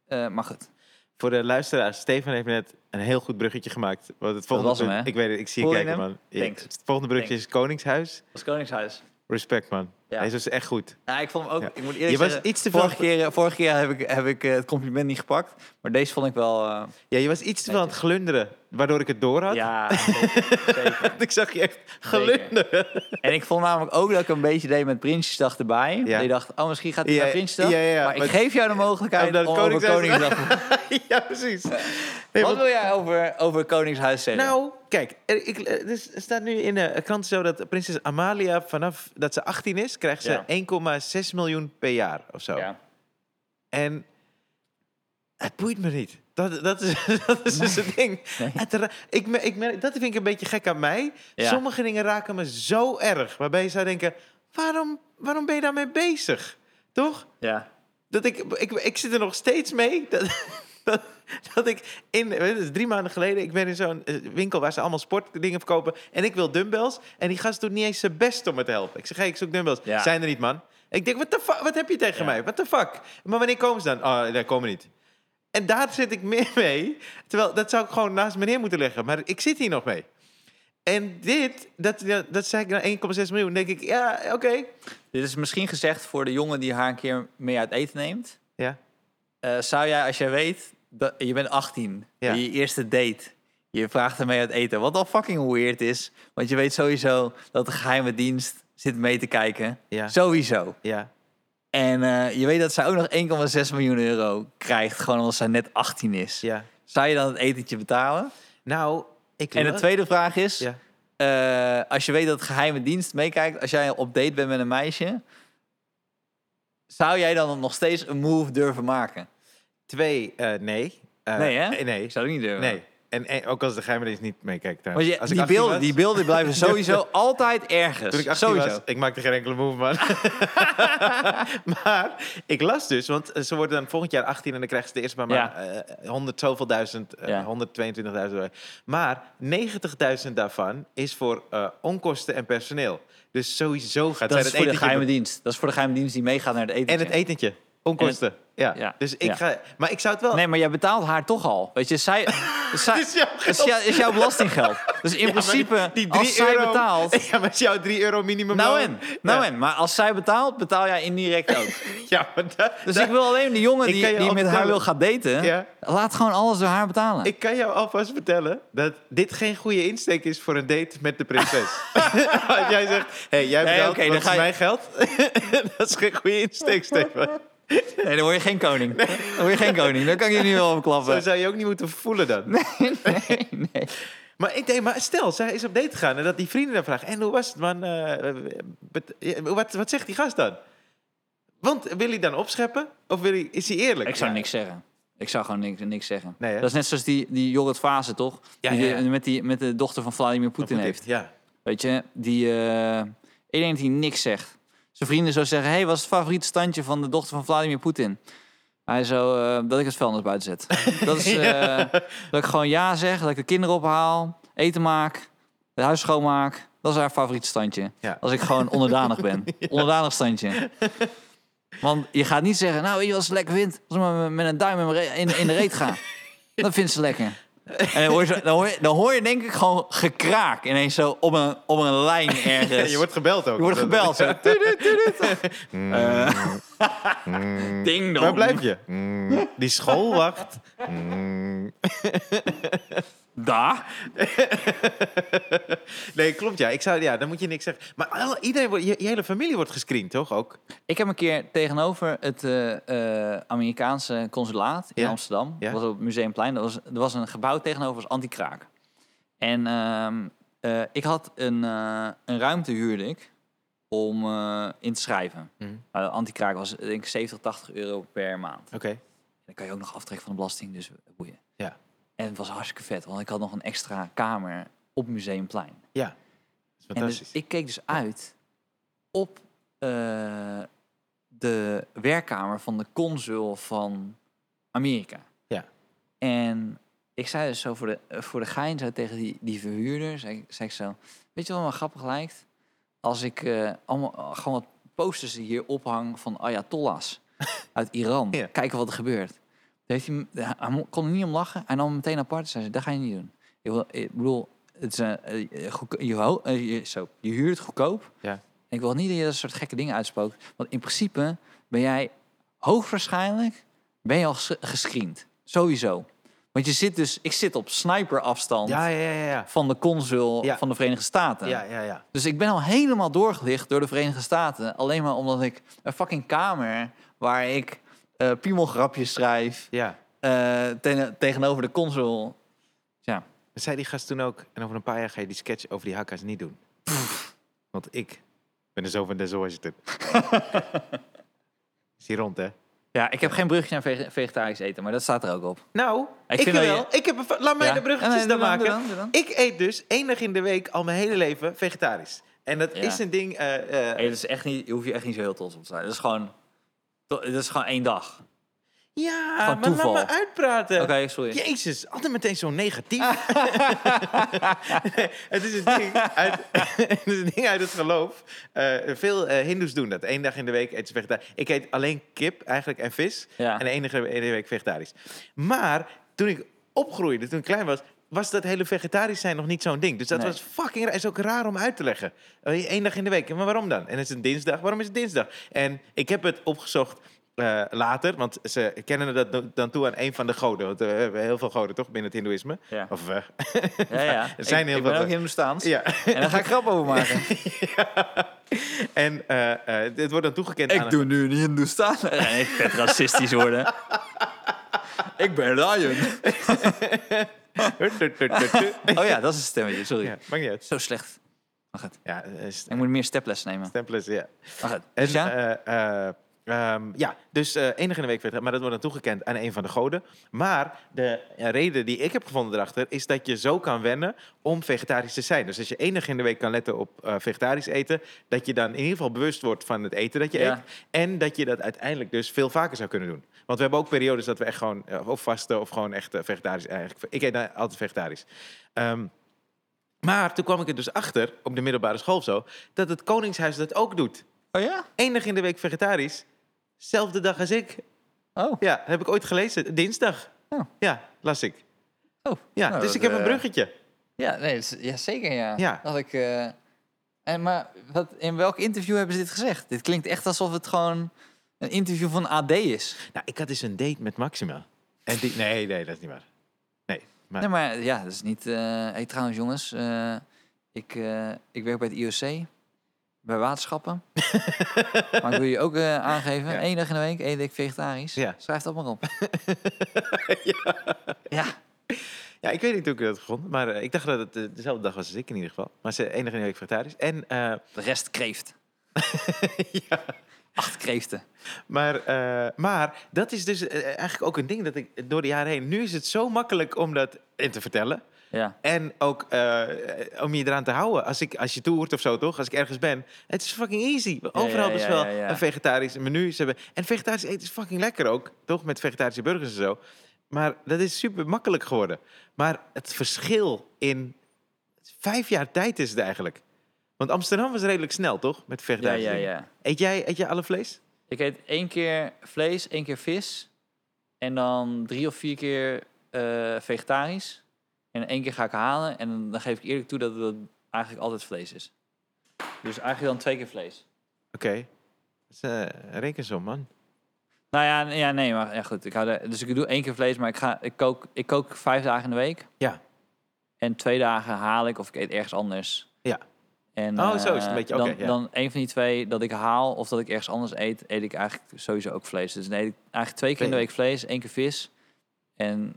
eh, maar goed, Voor de luisteraars, Stefan heeft net een heel goed bruggetje gemaakt. Want het volgende was hem, punt- hè? Ik weet het, ik zie je Voel je kijken, hem? man. Ja, Thanks. Het volgende bruggetje is Koningshuis. als Koningshuis. Respect, man. Ja. Hij is dus echt goed. Ja, Nou, ik vond hem ook, Ja. ik moet eerlijk Je was zeggen, iets te veel- vorige, keer, vorige keer heb ik, heb ik eh, het compliment niet gepakt. Maar deze vond ik wel... eh, Ja, je was iets te veel aan het glunderen, waardoor ik het door had. ja, zeker, zeker. Ik zag je echt glunderen. En ik vond namelijk ook dat ik een beetje deed met Prinsjesdag erbij. Ja. Je dacht, oh, misschien gaat het Ja, naar Prinsjesdag. ja, ja, ja. maar ik Maar- Oh, geef jou de mogelijkheid Omdat om het over Koningshuis- Koningsdag ja, precies. Nee, Wat want- wil jij over, over Koningshuis zeggen? Nou, kijk, er, ik, er is- er staat nu in de krant zo dat prinses Amalia vanaf dat ze 18 is, krijgt ze Ja. 1,6 miljoen per jaar of zo. ja. En het boeit me niet. Dat, dat is, dat is dus het ding. Het ra- ik, me- ik merk, dat vind ik een beetje gek aan mij. Ja. Sommige dingen raken me zo erg. Waarbij je zou denken, waarom, waarom ben je daarmee bezig? Toch? ja. Dat ik, ik, ik zit er nog steeds mee. Dat, dat, dat ik in, het is drie maanden geleden, ik ben in zo'n eh, winkel waar ze allemaal sportdingen verkopen. En ik wil dumbbells. En die gast doet niet eens zijn best om me te helpen. Ik zeg, hey, ik zoek dumbbells. Ja. Zijn er niet, man. Ik denk, what the fuck, wat heb je tegen Ja. mij? What the fuck? Maar wanneer komen ze dan? Oh, daar komen niet. En daar zit ik meer mee. Terwijl, dat zou ik gewoon naast me neer moeten leggen. Maar ik zit hier nog mee. En dit, dat, dat zei ik nou, naar 1,6 miljoen. Dan denk ik, ja, oké. Dit is misschien gezegd voor de jongen die haar een keer mee uit eten neemt. Ja. Eh, zou jij, als jij weet, dat, je bent 18, Ja. je eerste date, je vraagt haar mee uit eten. Wat al fucking weird is, want je weet sowieso dat de geheime dienst zit mee te kijken. Ja. Sowieso. Ja. En eh, je weet dat zij ook nog 1,6 miljoen euro krijgt, gewoon omdat zij net 18 is. Ja. Zou je dan het etentje betalen? Nou, ik... En de la- tweede vraag is, Ja. Eh, als je weet dat geheime dienst meekijkt, als jij op date bent met een meisje, zou jij dan nog steeds een move durven maken? Twee, eh, nee. Eh, nee, hè? eh, Nee. Ik zou het niet durven. nee. En, en ook als de geheime dienst niet meekijkt. Want trouwens. je, als die, 18 beelden, was- die beelden blijven sowieso altijd ergens. Toen ik 18 sowieso. was, ik maakte geen enkele move, man. maar ik las dus, want eh, ze worden dan volgend jaar 18 en dan krijgen ze de eerste paar Ja. maanden eh, 100 zoveel duizend, eh, Ja. 122.000. Maar 90.000 daarvan is voor eh, onkosten en personeel. Dus sowieso gaat dat zij is voor de etentje geheime dienst. Dat is voor de geheime dienst die meegaat naar het eten. En het etentje. Onkosten. ja. ja. Dus ik Ja. ga... Maar ik zou het wel... Dus Nee, maar jij betaalt haar toch al. Weet je, zij, zij, Het is jouw het is jou- is jouw belastinggeld. Dus in Ja, maar die- principe, die drie als zij euro- betaalt... Ja, maar is jouw 3 euro minimum. Nou loon? en, nou ja. en. Maar als zij betaalt, betaal jij indirect ook. Ja, maar dat, Dus dat- ik wil alleen de jongen Ik die, kan je die al met haar vertellen- wil gaan daten, Ja. laat gewoon alles door haar betalen. ik kan jou alvast vertellen dat dit geen goede insteek is voor een date met de prinses. Als jij zegt, hé, hey, jij Nee, betaalt, oké, wat dan is ga je- mijn geld? dat is geen goede insteek, Stefan. Nee, dan word je geen koning. Dan word je geen koning. Dan kan ik je nu wel Zo verklappen. zou je ook niet moeten voelen dan. nee, nee. Maar, ik denk, maar stel, zij is op date gegaan en dat die vrienden dan vragen... en hoe was het, man? Eh, bet- ja, wat, wat zegt die gast dan? Want wil hij dan opscheppen? Of wil hij, is hij eerlijk? Ik zou Ja. niks zeggen. Ik zou gewoon niks, niks zeggen. Nee, hè? dat is net zoals die, die Jorrit Fase, toch? Ja, die, eh, ja, ja. Met, die, met de dochter van Vladimir Poetin Goed, heeft. Ja. Weet je, die, eh, ik denk dat hij niks zegt. Zijn vrienden zo zeggen, hey, wat is het favoriete standje van de dochter van Vladimir Poetin? Hij zo, eh, dat ik het vuilnis buiten zet. dat is, eh, dat ik gewoon ja zeg, dat ik de kinderen ophaal, eten maak, het huis schoonmaak. Dat is haar favoriete standje. Ja. Als ik gewoon onderdanig ben. Onderdanig standje. Want je gaat niet zeggen, nou weet je wat ze lekker vindt? Als ik maar met een duim in, mijn re- in, in de reet ga. Dat vindt ze lekker. En dan hoor, je, zo- dan, hoor je, dan hoor je denk ik gewoon gekraak ineens zo op een, op een lijn ergens. Ja, je wordt gebeld ook. Mm. Je wordt gebeld. Zo. Tudu, tudu, tudu. Eh, Ding dong. Mm. Waar blijf je? Die school wacht. Daar. nee, klopt ja. Ik zou, ja. Dan moet je niks zeggen. Maar al- iedereen, wordt- je, je hele familie wordt gescreend, toch? Ook. Ik heb een keer tegenover het eh, eh, Amerikaanse consulaat in Ja. Amsterdam, Ja. dat was op het Museumplein, dat was, er was een gebouw tegenover als anti-kraak. En ehm, eh, ik had een, eh, een ruimte huurde ik om eh, in te schrijven. Mhm. Maar de anti-kraak was denk ik 70, 80 euro per maand. Oké. Dan kan je ook nog aftrekken van de belasting, dus boeien. Ja. En het was hartstikke vet, want ik had nog een extra kamer op Museumplein. Ja. Dat is En dus fantastisch. ik keek dus uit op eh, de werkkamer van de consul van Amerika. Ja. En ik zei dus zo voor de, eh, voor de gein zo tegen die, die verhuurder, zei, ik- zei ik zo... Weet je wat me grappig lijkt? Als ik eh, allemaal, gewoon wat posters hier ophang van ayatollahs uit Iran. Ja. Kijken wat er gebeurt. Toen Heeft hij, hem- hij mo- kon er niet om lachen. Hij nam hem meteen apart en zei, dat ga je niet doen. Ik, wil- ik bedoel, het is een, eh, goedko- je, ho- eh, je, zo, je huurt goedkoop. Ja. En ik wil niet dat je dat soort gekke dingen uitspookt. Want in principe ben jij hoogwaarschijnlijk ben je al ges- gescreend. Sowieso. Want je zit dus, ik zit op sniperafstand Ja, ja, ja, ja. van de consul Ja. van de Verenigde Staten. Ja, ja, ja. Dus ik ben al helemaal doorgelicht door de Verenigde Staten. Alleen maar omdat ik een fucking kamer waar ik eh piemelgrapjes schrijf ja. eh, ten- tegenover de consul. Ja, Dat zei die gast toen ook. En over een paar jaar ga je die sketch over die hakka's niet doen. Want ik ben de zoon van Denzel Washington. is hier rond, hè? ja ik heb geen brugje naar vege- vegetarisch eten, maar dat staat er ook op. Nou, ik, vind dat wel. je- Ik heb een va- Laat mij Ja. de bruggetjes Ja, nee, dan doe dan, maken. doe dan, doe dan. Ik eet dus enig in de week al mijn hele leven vegetarisch. En dat Ja. is een ding... eh, eh, Hey, dat is echt niet, je hoef je echt niet zo heel trots op te zijn. Dat is gewoon, dat is gewoon één dag. ja, Van maar toeval. laat me uitpraten. Oké, sorry. Jezus, altijd meteen zo negatief. het, is een ding uit, het is een ding uit het geloof. Eh, veel eh hindoes doen dat. Eén dag in de week eten ze vegetarisch. Ik eet alleen kip eigenlijk en vis. Ja. En de enige ene week vegetarisch. Maar toen ik opgroeide, toen ik klein was... was dat hele vegetarisch zijn nog niet zo'n ding. Dus dat Nee. was fucking raar. is ook raar om uit te leggen. Eh, Eén dag in de week. Maar waarom dan? En het is een dinsdag. Waarom is het dinsdag? En ik heb het opgezocht... eh, later, want ze kennen dat do- dan toe aan een van de goden. Want eh, we hebben heel veel goden, toch, binnen het hindoeïsme? Ja. Of eh, Ja, ja. Er zijn ik, heel ik veel- ben ook Hindoestaans. ja. En daar ga ik grap over maken. En eh, eh, het wordt dan toegekend aan... Ik doe nu een Hindoestaan. En ik ben racistisch worden. ik ben Ryan. Oh ja, dat is een stemmetje, sorry. ja, maakt niet uit. Zo slecht. Mag het. Ja, eh, st- Ik moet meer steples nemen. stempels, ja. Mag het. En, Dus ja? eh, eh, ehm, ja, dus eh enige in de week verder. Maar dat wordt dan toegekend aan een van de goden. Maar de eh, reden die ik heb gevonden erachter... is dat je zo kan wennen om vegetarisch te zijn. Dus als je enig in de week kan letten op eh, vegetarisch eten... dat je dan in ieder geval bewust wordt van het eten dat je Ja. eet. En dat je dat uiteindelijk dus veel vaker zou kunnen doen. Want we hebben ook periodes dat we echt gewoon... eh, of vasten of gewoon echt eh, vegetarisch... Eigenlijk, ik eet dan altijd vegetarisch. Ehm, maar toen kwam ik er dus achter, op de middelbare school of zo... dat het Koningshuis dat ook doet Oh ja? één dag in de week vegetarisch. Zelfde dag als ik. Oh. Ja, dat heb ik ooit gelezen. Dinsdag. Oh. Ja, las ik. oh. Ja, Nou, dus dat, ik heb een eh, bruggetje. Ja, nee, dat is- ja zeker ja. Ja. Dat ik, eh, en, maar wat, in welk interview hebben ze dit gezegd? Dit klinkt echt alsof het gewoon een interview van AD is. Nou, ik had dus een date met Maxima. En die... Nee, nee, dat is niet waar. Nee, maar... Nee, maar ja, dat is niet... eh hey, trouwens jongens, eh, ik, eh, ik werk bij het IOC. Bij waterschappen. maar ik wil je ook eh, aangeven. Ja. één dag in de week eet ik vegetarisch. Ja. Schrijf dat maar op. ja. Ja, ik weet niet hoe ik dat vond. Maar eh, ik dacht dat het eh, dezelfde dag was als ik in ieder geval. Maar ze één dag in de week vegetarisch. En, eh, De rest kreeft. ja... Acht kreeften. Maar, eh, maar dat is dus eh, eigenlijk ook een ding dat ik door de jaren heen... Nu is het zo makkelijk om dat eh, te vertellen. Ja. En ook eh, om je eraan te houden. Als, ik, als je toert of zo, toch? Als ik ergens ben. Het is fucking easy. Overal ja, best ja, wel ja, ja. een vegetarisch menu. Ze hebben. En vegetarisch eten is fucking lekker ook. Toch? Met vegetarische burgers en zo. Maar dat is super makkelijk geworden. Maar het verschil in vijf jaar tijd is het eigenlijk. Want Amsterdam was redelijk snel, toch? Met Ja, vegetarisch. ja, dingen. ja. Eet, jij, eet jij alle vlees? Ik eet één keer vlees, één keer vis. En dan drie of vier keer eh, vegetarisch. En één keer ga ik halen. En dan- dan geef ik eerlijk toe dat het eigenlijk altijd vlees is. Dus eigenlijk dan twee keer vlees. Oké. Dat is eh, een rekensom, man. Nou ja, n- ja nee, maar ja, goed. Ik hou er- dus ik doe één keer vlees, maar ik, ga, ik, kook, ik kook vijf dagen in de week. Ja. En twee dagen haal ik of ik eet ergens anders. Ja. En, Oh, zo is het eh, een beetje, Dan, oké, ja. dan een van die twee dat ik haal of dat ik ergens anders eet, eet ik eigenlijk sowieso ook vlees. Dus dan eet ik eigenlijk twee keer in de Vlees. week vlees, één keer vis. En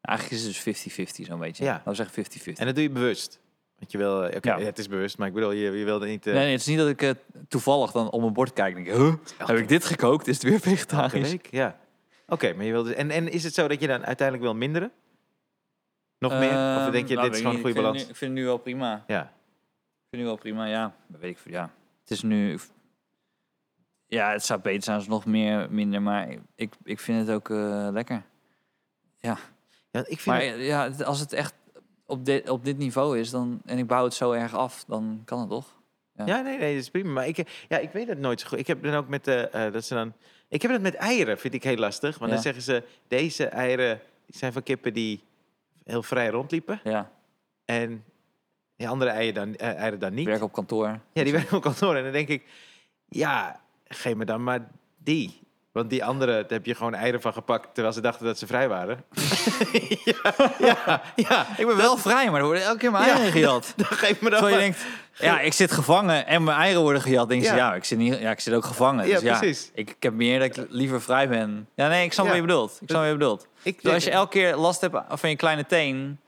eigenlijk is het dus 50-50 zo'n beetje. Ja. Laten we zeggen 50-50. En dat doe je bewust. Want je wil, eh, oké, Ja. ja, het is bewust, maar ik bedoel, je, je wil er niet... eh, Nee, nee, het is niet dat ik eh, toevallig dan op mijn bord kijk en denk, huh, heb ik dit gekookt? Is het weer Elke vegetarisch? week, ja. Oké, maar je wil dus... En, en is het zo dat je dan uiteindelijk wil minderen? Nog meer? Of Ehm, denk je, nou, dit is weet gewoon ik een niet. goede Ik vind het balans? nu- Ik vind het nu wel prima. Ja. Ik vind het nu wel prima, ja. Dat weet ik veel, ja. Het is nu... Ja, het zou beter zijn als nog meer, minder, maar ik, ik vind het ook eh, lekker. ja ik vind Maar het- eh, ja, het- als het echt op dit, op dit niveau is dan, en ik bouw het zo erg af, dan kan het toch? ja. Ja, nee, nee, dat is prima. Maar ik, eh, ja, ik weet dat nooit zo goed. Ik heb dan ook met... eh, eh, dat ze dan, ik heb dat met eieren, vind ik heel lastig. Want Ja. dan zeggen ze, deze eieren zijn van kippen die heel vrij rondliepen. Ja, En die andere eieren dan, eh, eieren dan ik niet. werk op kantoor. Ja, die werken op kantoor. En dan denk ik, ja, geef me dan maar die. Want die andere, daar heb je gewoon eieren van gepakt terwijl ze dachten dat ze vrij waren. ja, ja, ja. Ik ben wel vrij, maar er worden elke keer mijn Ja. eieren gejat. Dan geef me dan Terwijl maar. je denkt, ja, ik zit gevangen en mijn eieren worden gejat. Denk je, ja, Ja. ik, zit niet, ja ik zit ook gevangen. Ja, dus ja, precies. Ik, ik heb meer dat ik liever vrij ben. Ja, nee, ik snap Ja. wat je bedoelt. Ik snap wat je bedoelt. ik, Dus als je elke keer last hebt van je kleine teen...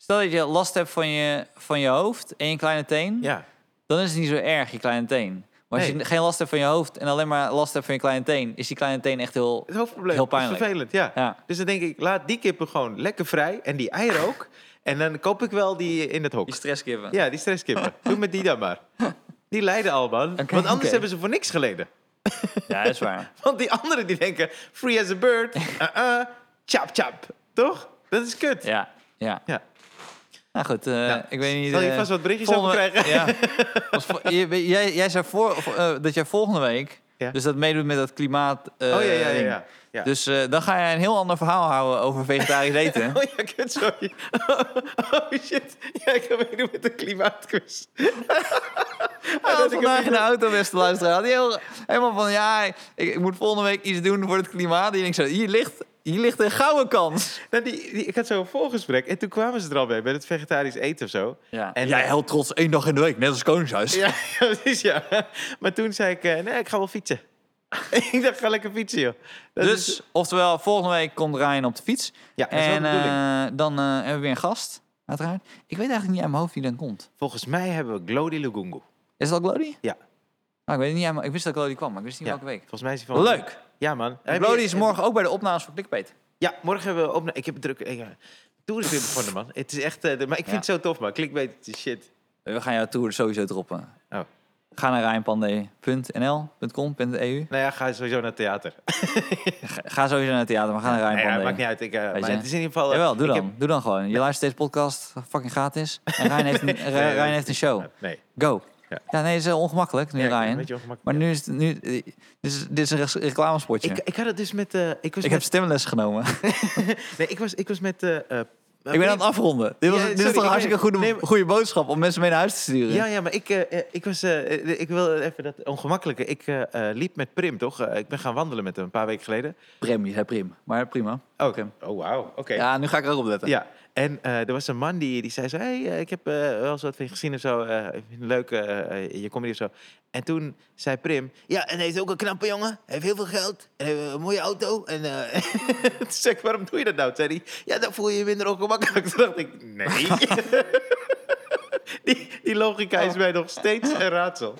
Stel dat je last hebt van je, van je hoofd en je kleine teen... Ja, dan is het niet zo erg, je kleine teen. Maar als je Nee. geen last hebt van je hoofd en alleen maar last hebt van je kleine teen... is die kleine teen echt heel... het hoofdprobleem. Heel Dat is pijnlijk. vervelend, ja. Ja, Dus dan denk ik, laat die kippen gewoon lekker vrij en die eieren ook. En dan koop ik wel die in het hok. die stresskippen. Ja, die stresskippen. Doe met die dan maar. Die lijden al, man. Oké, Want anders oké. hebben ze voor niks geleden. ja, dat is waar. Want die anderen die denken, free as a bird, uh-uh, chap chap. Toch? Dat is kut. Ja, ja. Ja. Nou goed, eh, Ja. ik weet niet... Zal je eh, vast wat berichtjes over volgende- krijgen? Ja. Als vo- je- weet- jij, jij zei voor, of, eh, dat jij volgende week... Ja. dus dat meedoet met dat klimaat... eh, Oh ja, ja, ja. ding. ja. ja. Dus eh, dan ga jij een heel ander verhaal houden over vegetarisch eten. Oh ja, kut, sorry. Oh shit. Ja, ik ga meedoen met de klimaatquiz. Hij dat had ik hem Oh, vandaag niet in de auto, beste luisteraar. Had hij heel, helemaal van, ja, ik, ik moet volgende week iets doen voor het klimaat. En ik zo, hier ligt, hier ligt een gouden kans. Nou, die, die, ik had zo'n voorgesprek en toen kwamen ze er al bij, bij het vegetarisch eten of zo. Ja. En- heel trots, één dag in de week, net als Koningshuis. Ja, precies, ja. Maar toen zei ik, eh, nee, ik ga wel fietsen. ik dacht, ga lekker fietsen, joh. Dat dus, is- oftewel, volgende week komt Ryan op de fiets. ja, dat is wel en de bedoeling. eh, dan eh, hebben we weer een gast, uiteraard. Ik weet eigenlijk niet aan mijn hoofd wie dan komt. Volgens mij hebben we Glody Lugungu. Is dat Glody? Ja. Ah, ik, weet het niet, aan mijn- ik wist dat Glody kwam, maar ik wist niet Ja. welke week. Volgens mij is hij van... Leuk. Ja, man. Heb je- Glody is morgen ook bij de opnames van Clickbait. Ja, morgen hebben we opna- Ik heb het druk. Ik, eh, tour is weer begonnen, man. Het is echt. eh, de- maar ik vind Ja. het zo tof, man. Clickbait het is shit. We gaan jouw tour sowieso droppen. Oh. Ga naar rijnpandé.nl.com.eu. Nou ja, ga sowieso naar het theater. Ga- e Ga sowieso naar het theater, maar ga naar Nou ja, Rijnpandé. maakt niet uit. Ik, eh, maar je. het is in ieder geval. eh, Jawel, doe ik dan. heb- Doe dan gewoon. Je luistert deze podcast, fucking gratis. En Rijn heeft een, nee, Rijn- Rijn dat heeft een is- show. Nee. Go. Ja, Ja. nee, het is heel ongemakkelijk nu, Ja, ik ben een Ryan. beetje ongemakkelijk. Maar nu is het nu, eh, dit, is, dit is een res- reclamespotje. Ik, Ik, ik had het dus met. eh, ik was heb met, stemles genomen. Nee, ik was, ik was met. eh, eh, ik ben aan het afronden. Dit, was, Ja, dit sorry, is toch ik een hartstikke weet- goede, nee, maar- goede boodschap om mensen mee naar huis te sturen. Ja, ja, maar ik, eh, eh, ik was. eh, eh, ik wil even dat ongemakkelijke. Ik eh, eh, liep met Prim, toch? Eh, ik ben gaan wandelen met hem een paar weken geleden. Prim, je zei prim. Maar prima. Oh, Prim. oh wauw. Oké. Ja, nu ga ik erop letten. Ja, en eh, er was een man die, die zei zo... hey, eh, ik heb eh, wel eens wat van je gezien of zo. eh, ik vind het leuk, eh, eh, je comedy of zo. En toen zei Prim... Ja, en hij is ook een knappe jongen. Hij heeft heel veel geld. En hij heeft een mooie auto. En eh toen zei ik, waarom doe je dat nou? Toen zei hij, ja, dan voel je je minder ongemakkelijk. Toen dacht ik, nee. die, die logica is mij nog steeds een raadsel.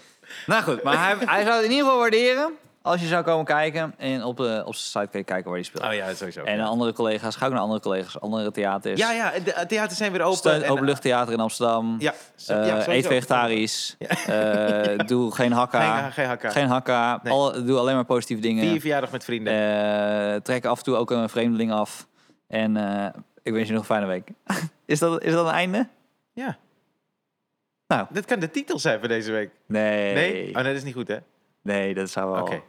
Nou goed, maar hij, hij zou het in ieder geval waarderen als je zou komen kijken. En op, eh, op zijn site kan je kijken waar hij speelt. Oh ja, sowieso. En naar andere collega's, ga ook naar andere collega's, andere theaters. ja, ja, en de eh, theaters zijn weer open. Steun en- eh, openluchttheater in Amsterdam. Ja, zo- Eh, ja, sowieso. eet vegetarisch. Eh, doe geen hakka. Geen- geen hakka. Geen hakka. Nee. Al- doe alleen maar positieve dingen. Vier verjaardag met vrienden. Eh, trek af en toe ook een vreemdeling af. En eh, ik wens je nog een fijne week. is, dat, is dat een einde? Ja. Nou. Dat kan de titel zijn voor deze week. Nee. Nee? Nee, Oh. Oh, nee, dat is niet goed, hè? dat zou wel... Oké.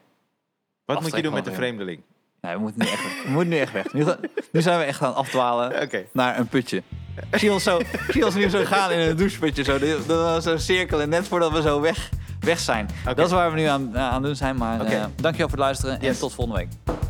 Wat moet je Aftrekken doen met de van- vreemdeling? Nee, we moeten nu echt weg. We moeten nu echt weg. Nu, gaan- nu zijn we echt aan het afdwalen Oké. naar een putje. Ik zie ons, zo, ik zie ons nu zo gaan in een doucheputje. Zo, die- dan zo'n cirkel en net voordat we zo weg, weg zijn. Oké. Dat is waar we nu aan aan het doen zijn. Maar Oké. eh, dankjewel voor het luisteren en Yes. tot volgende week.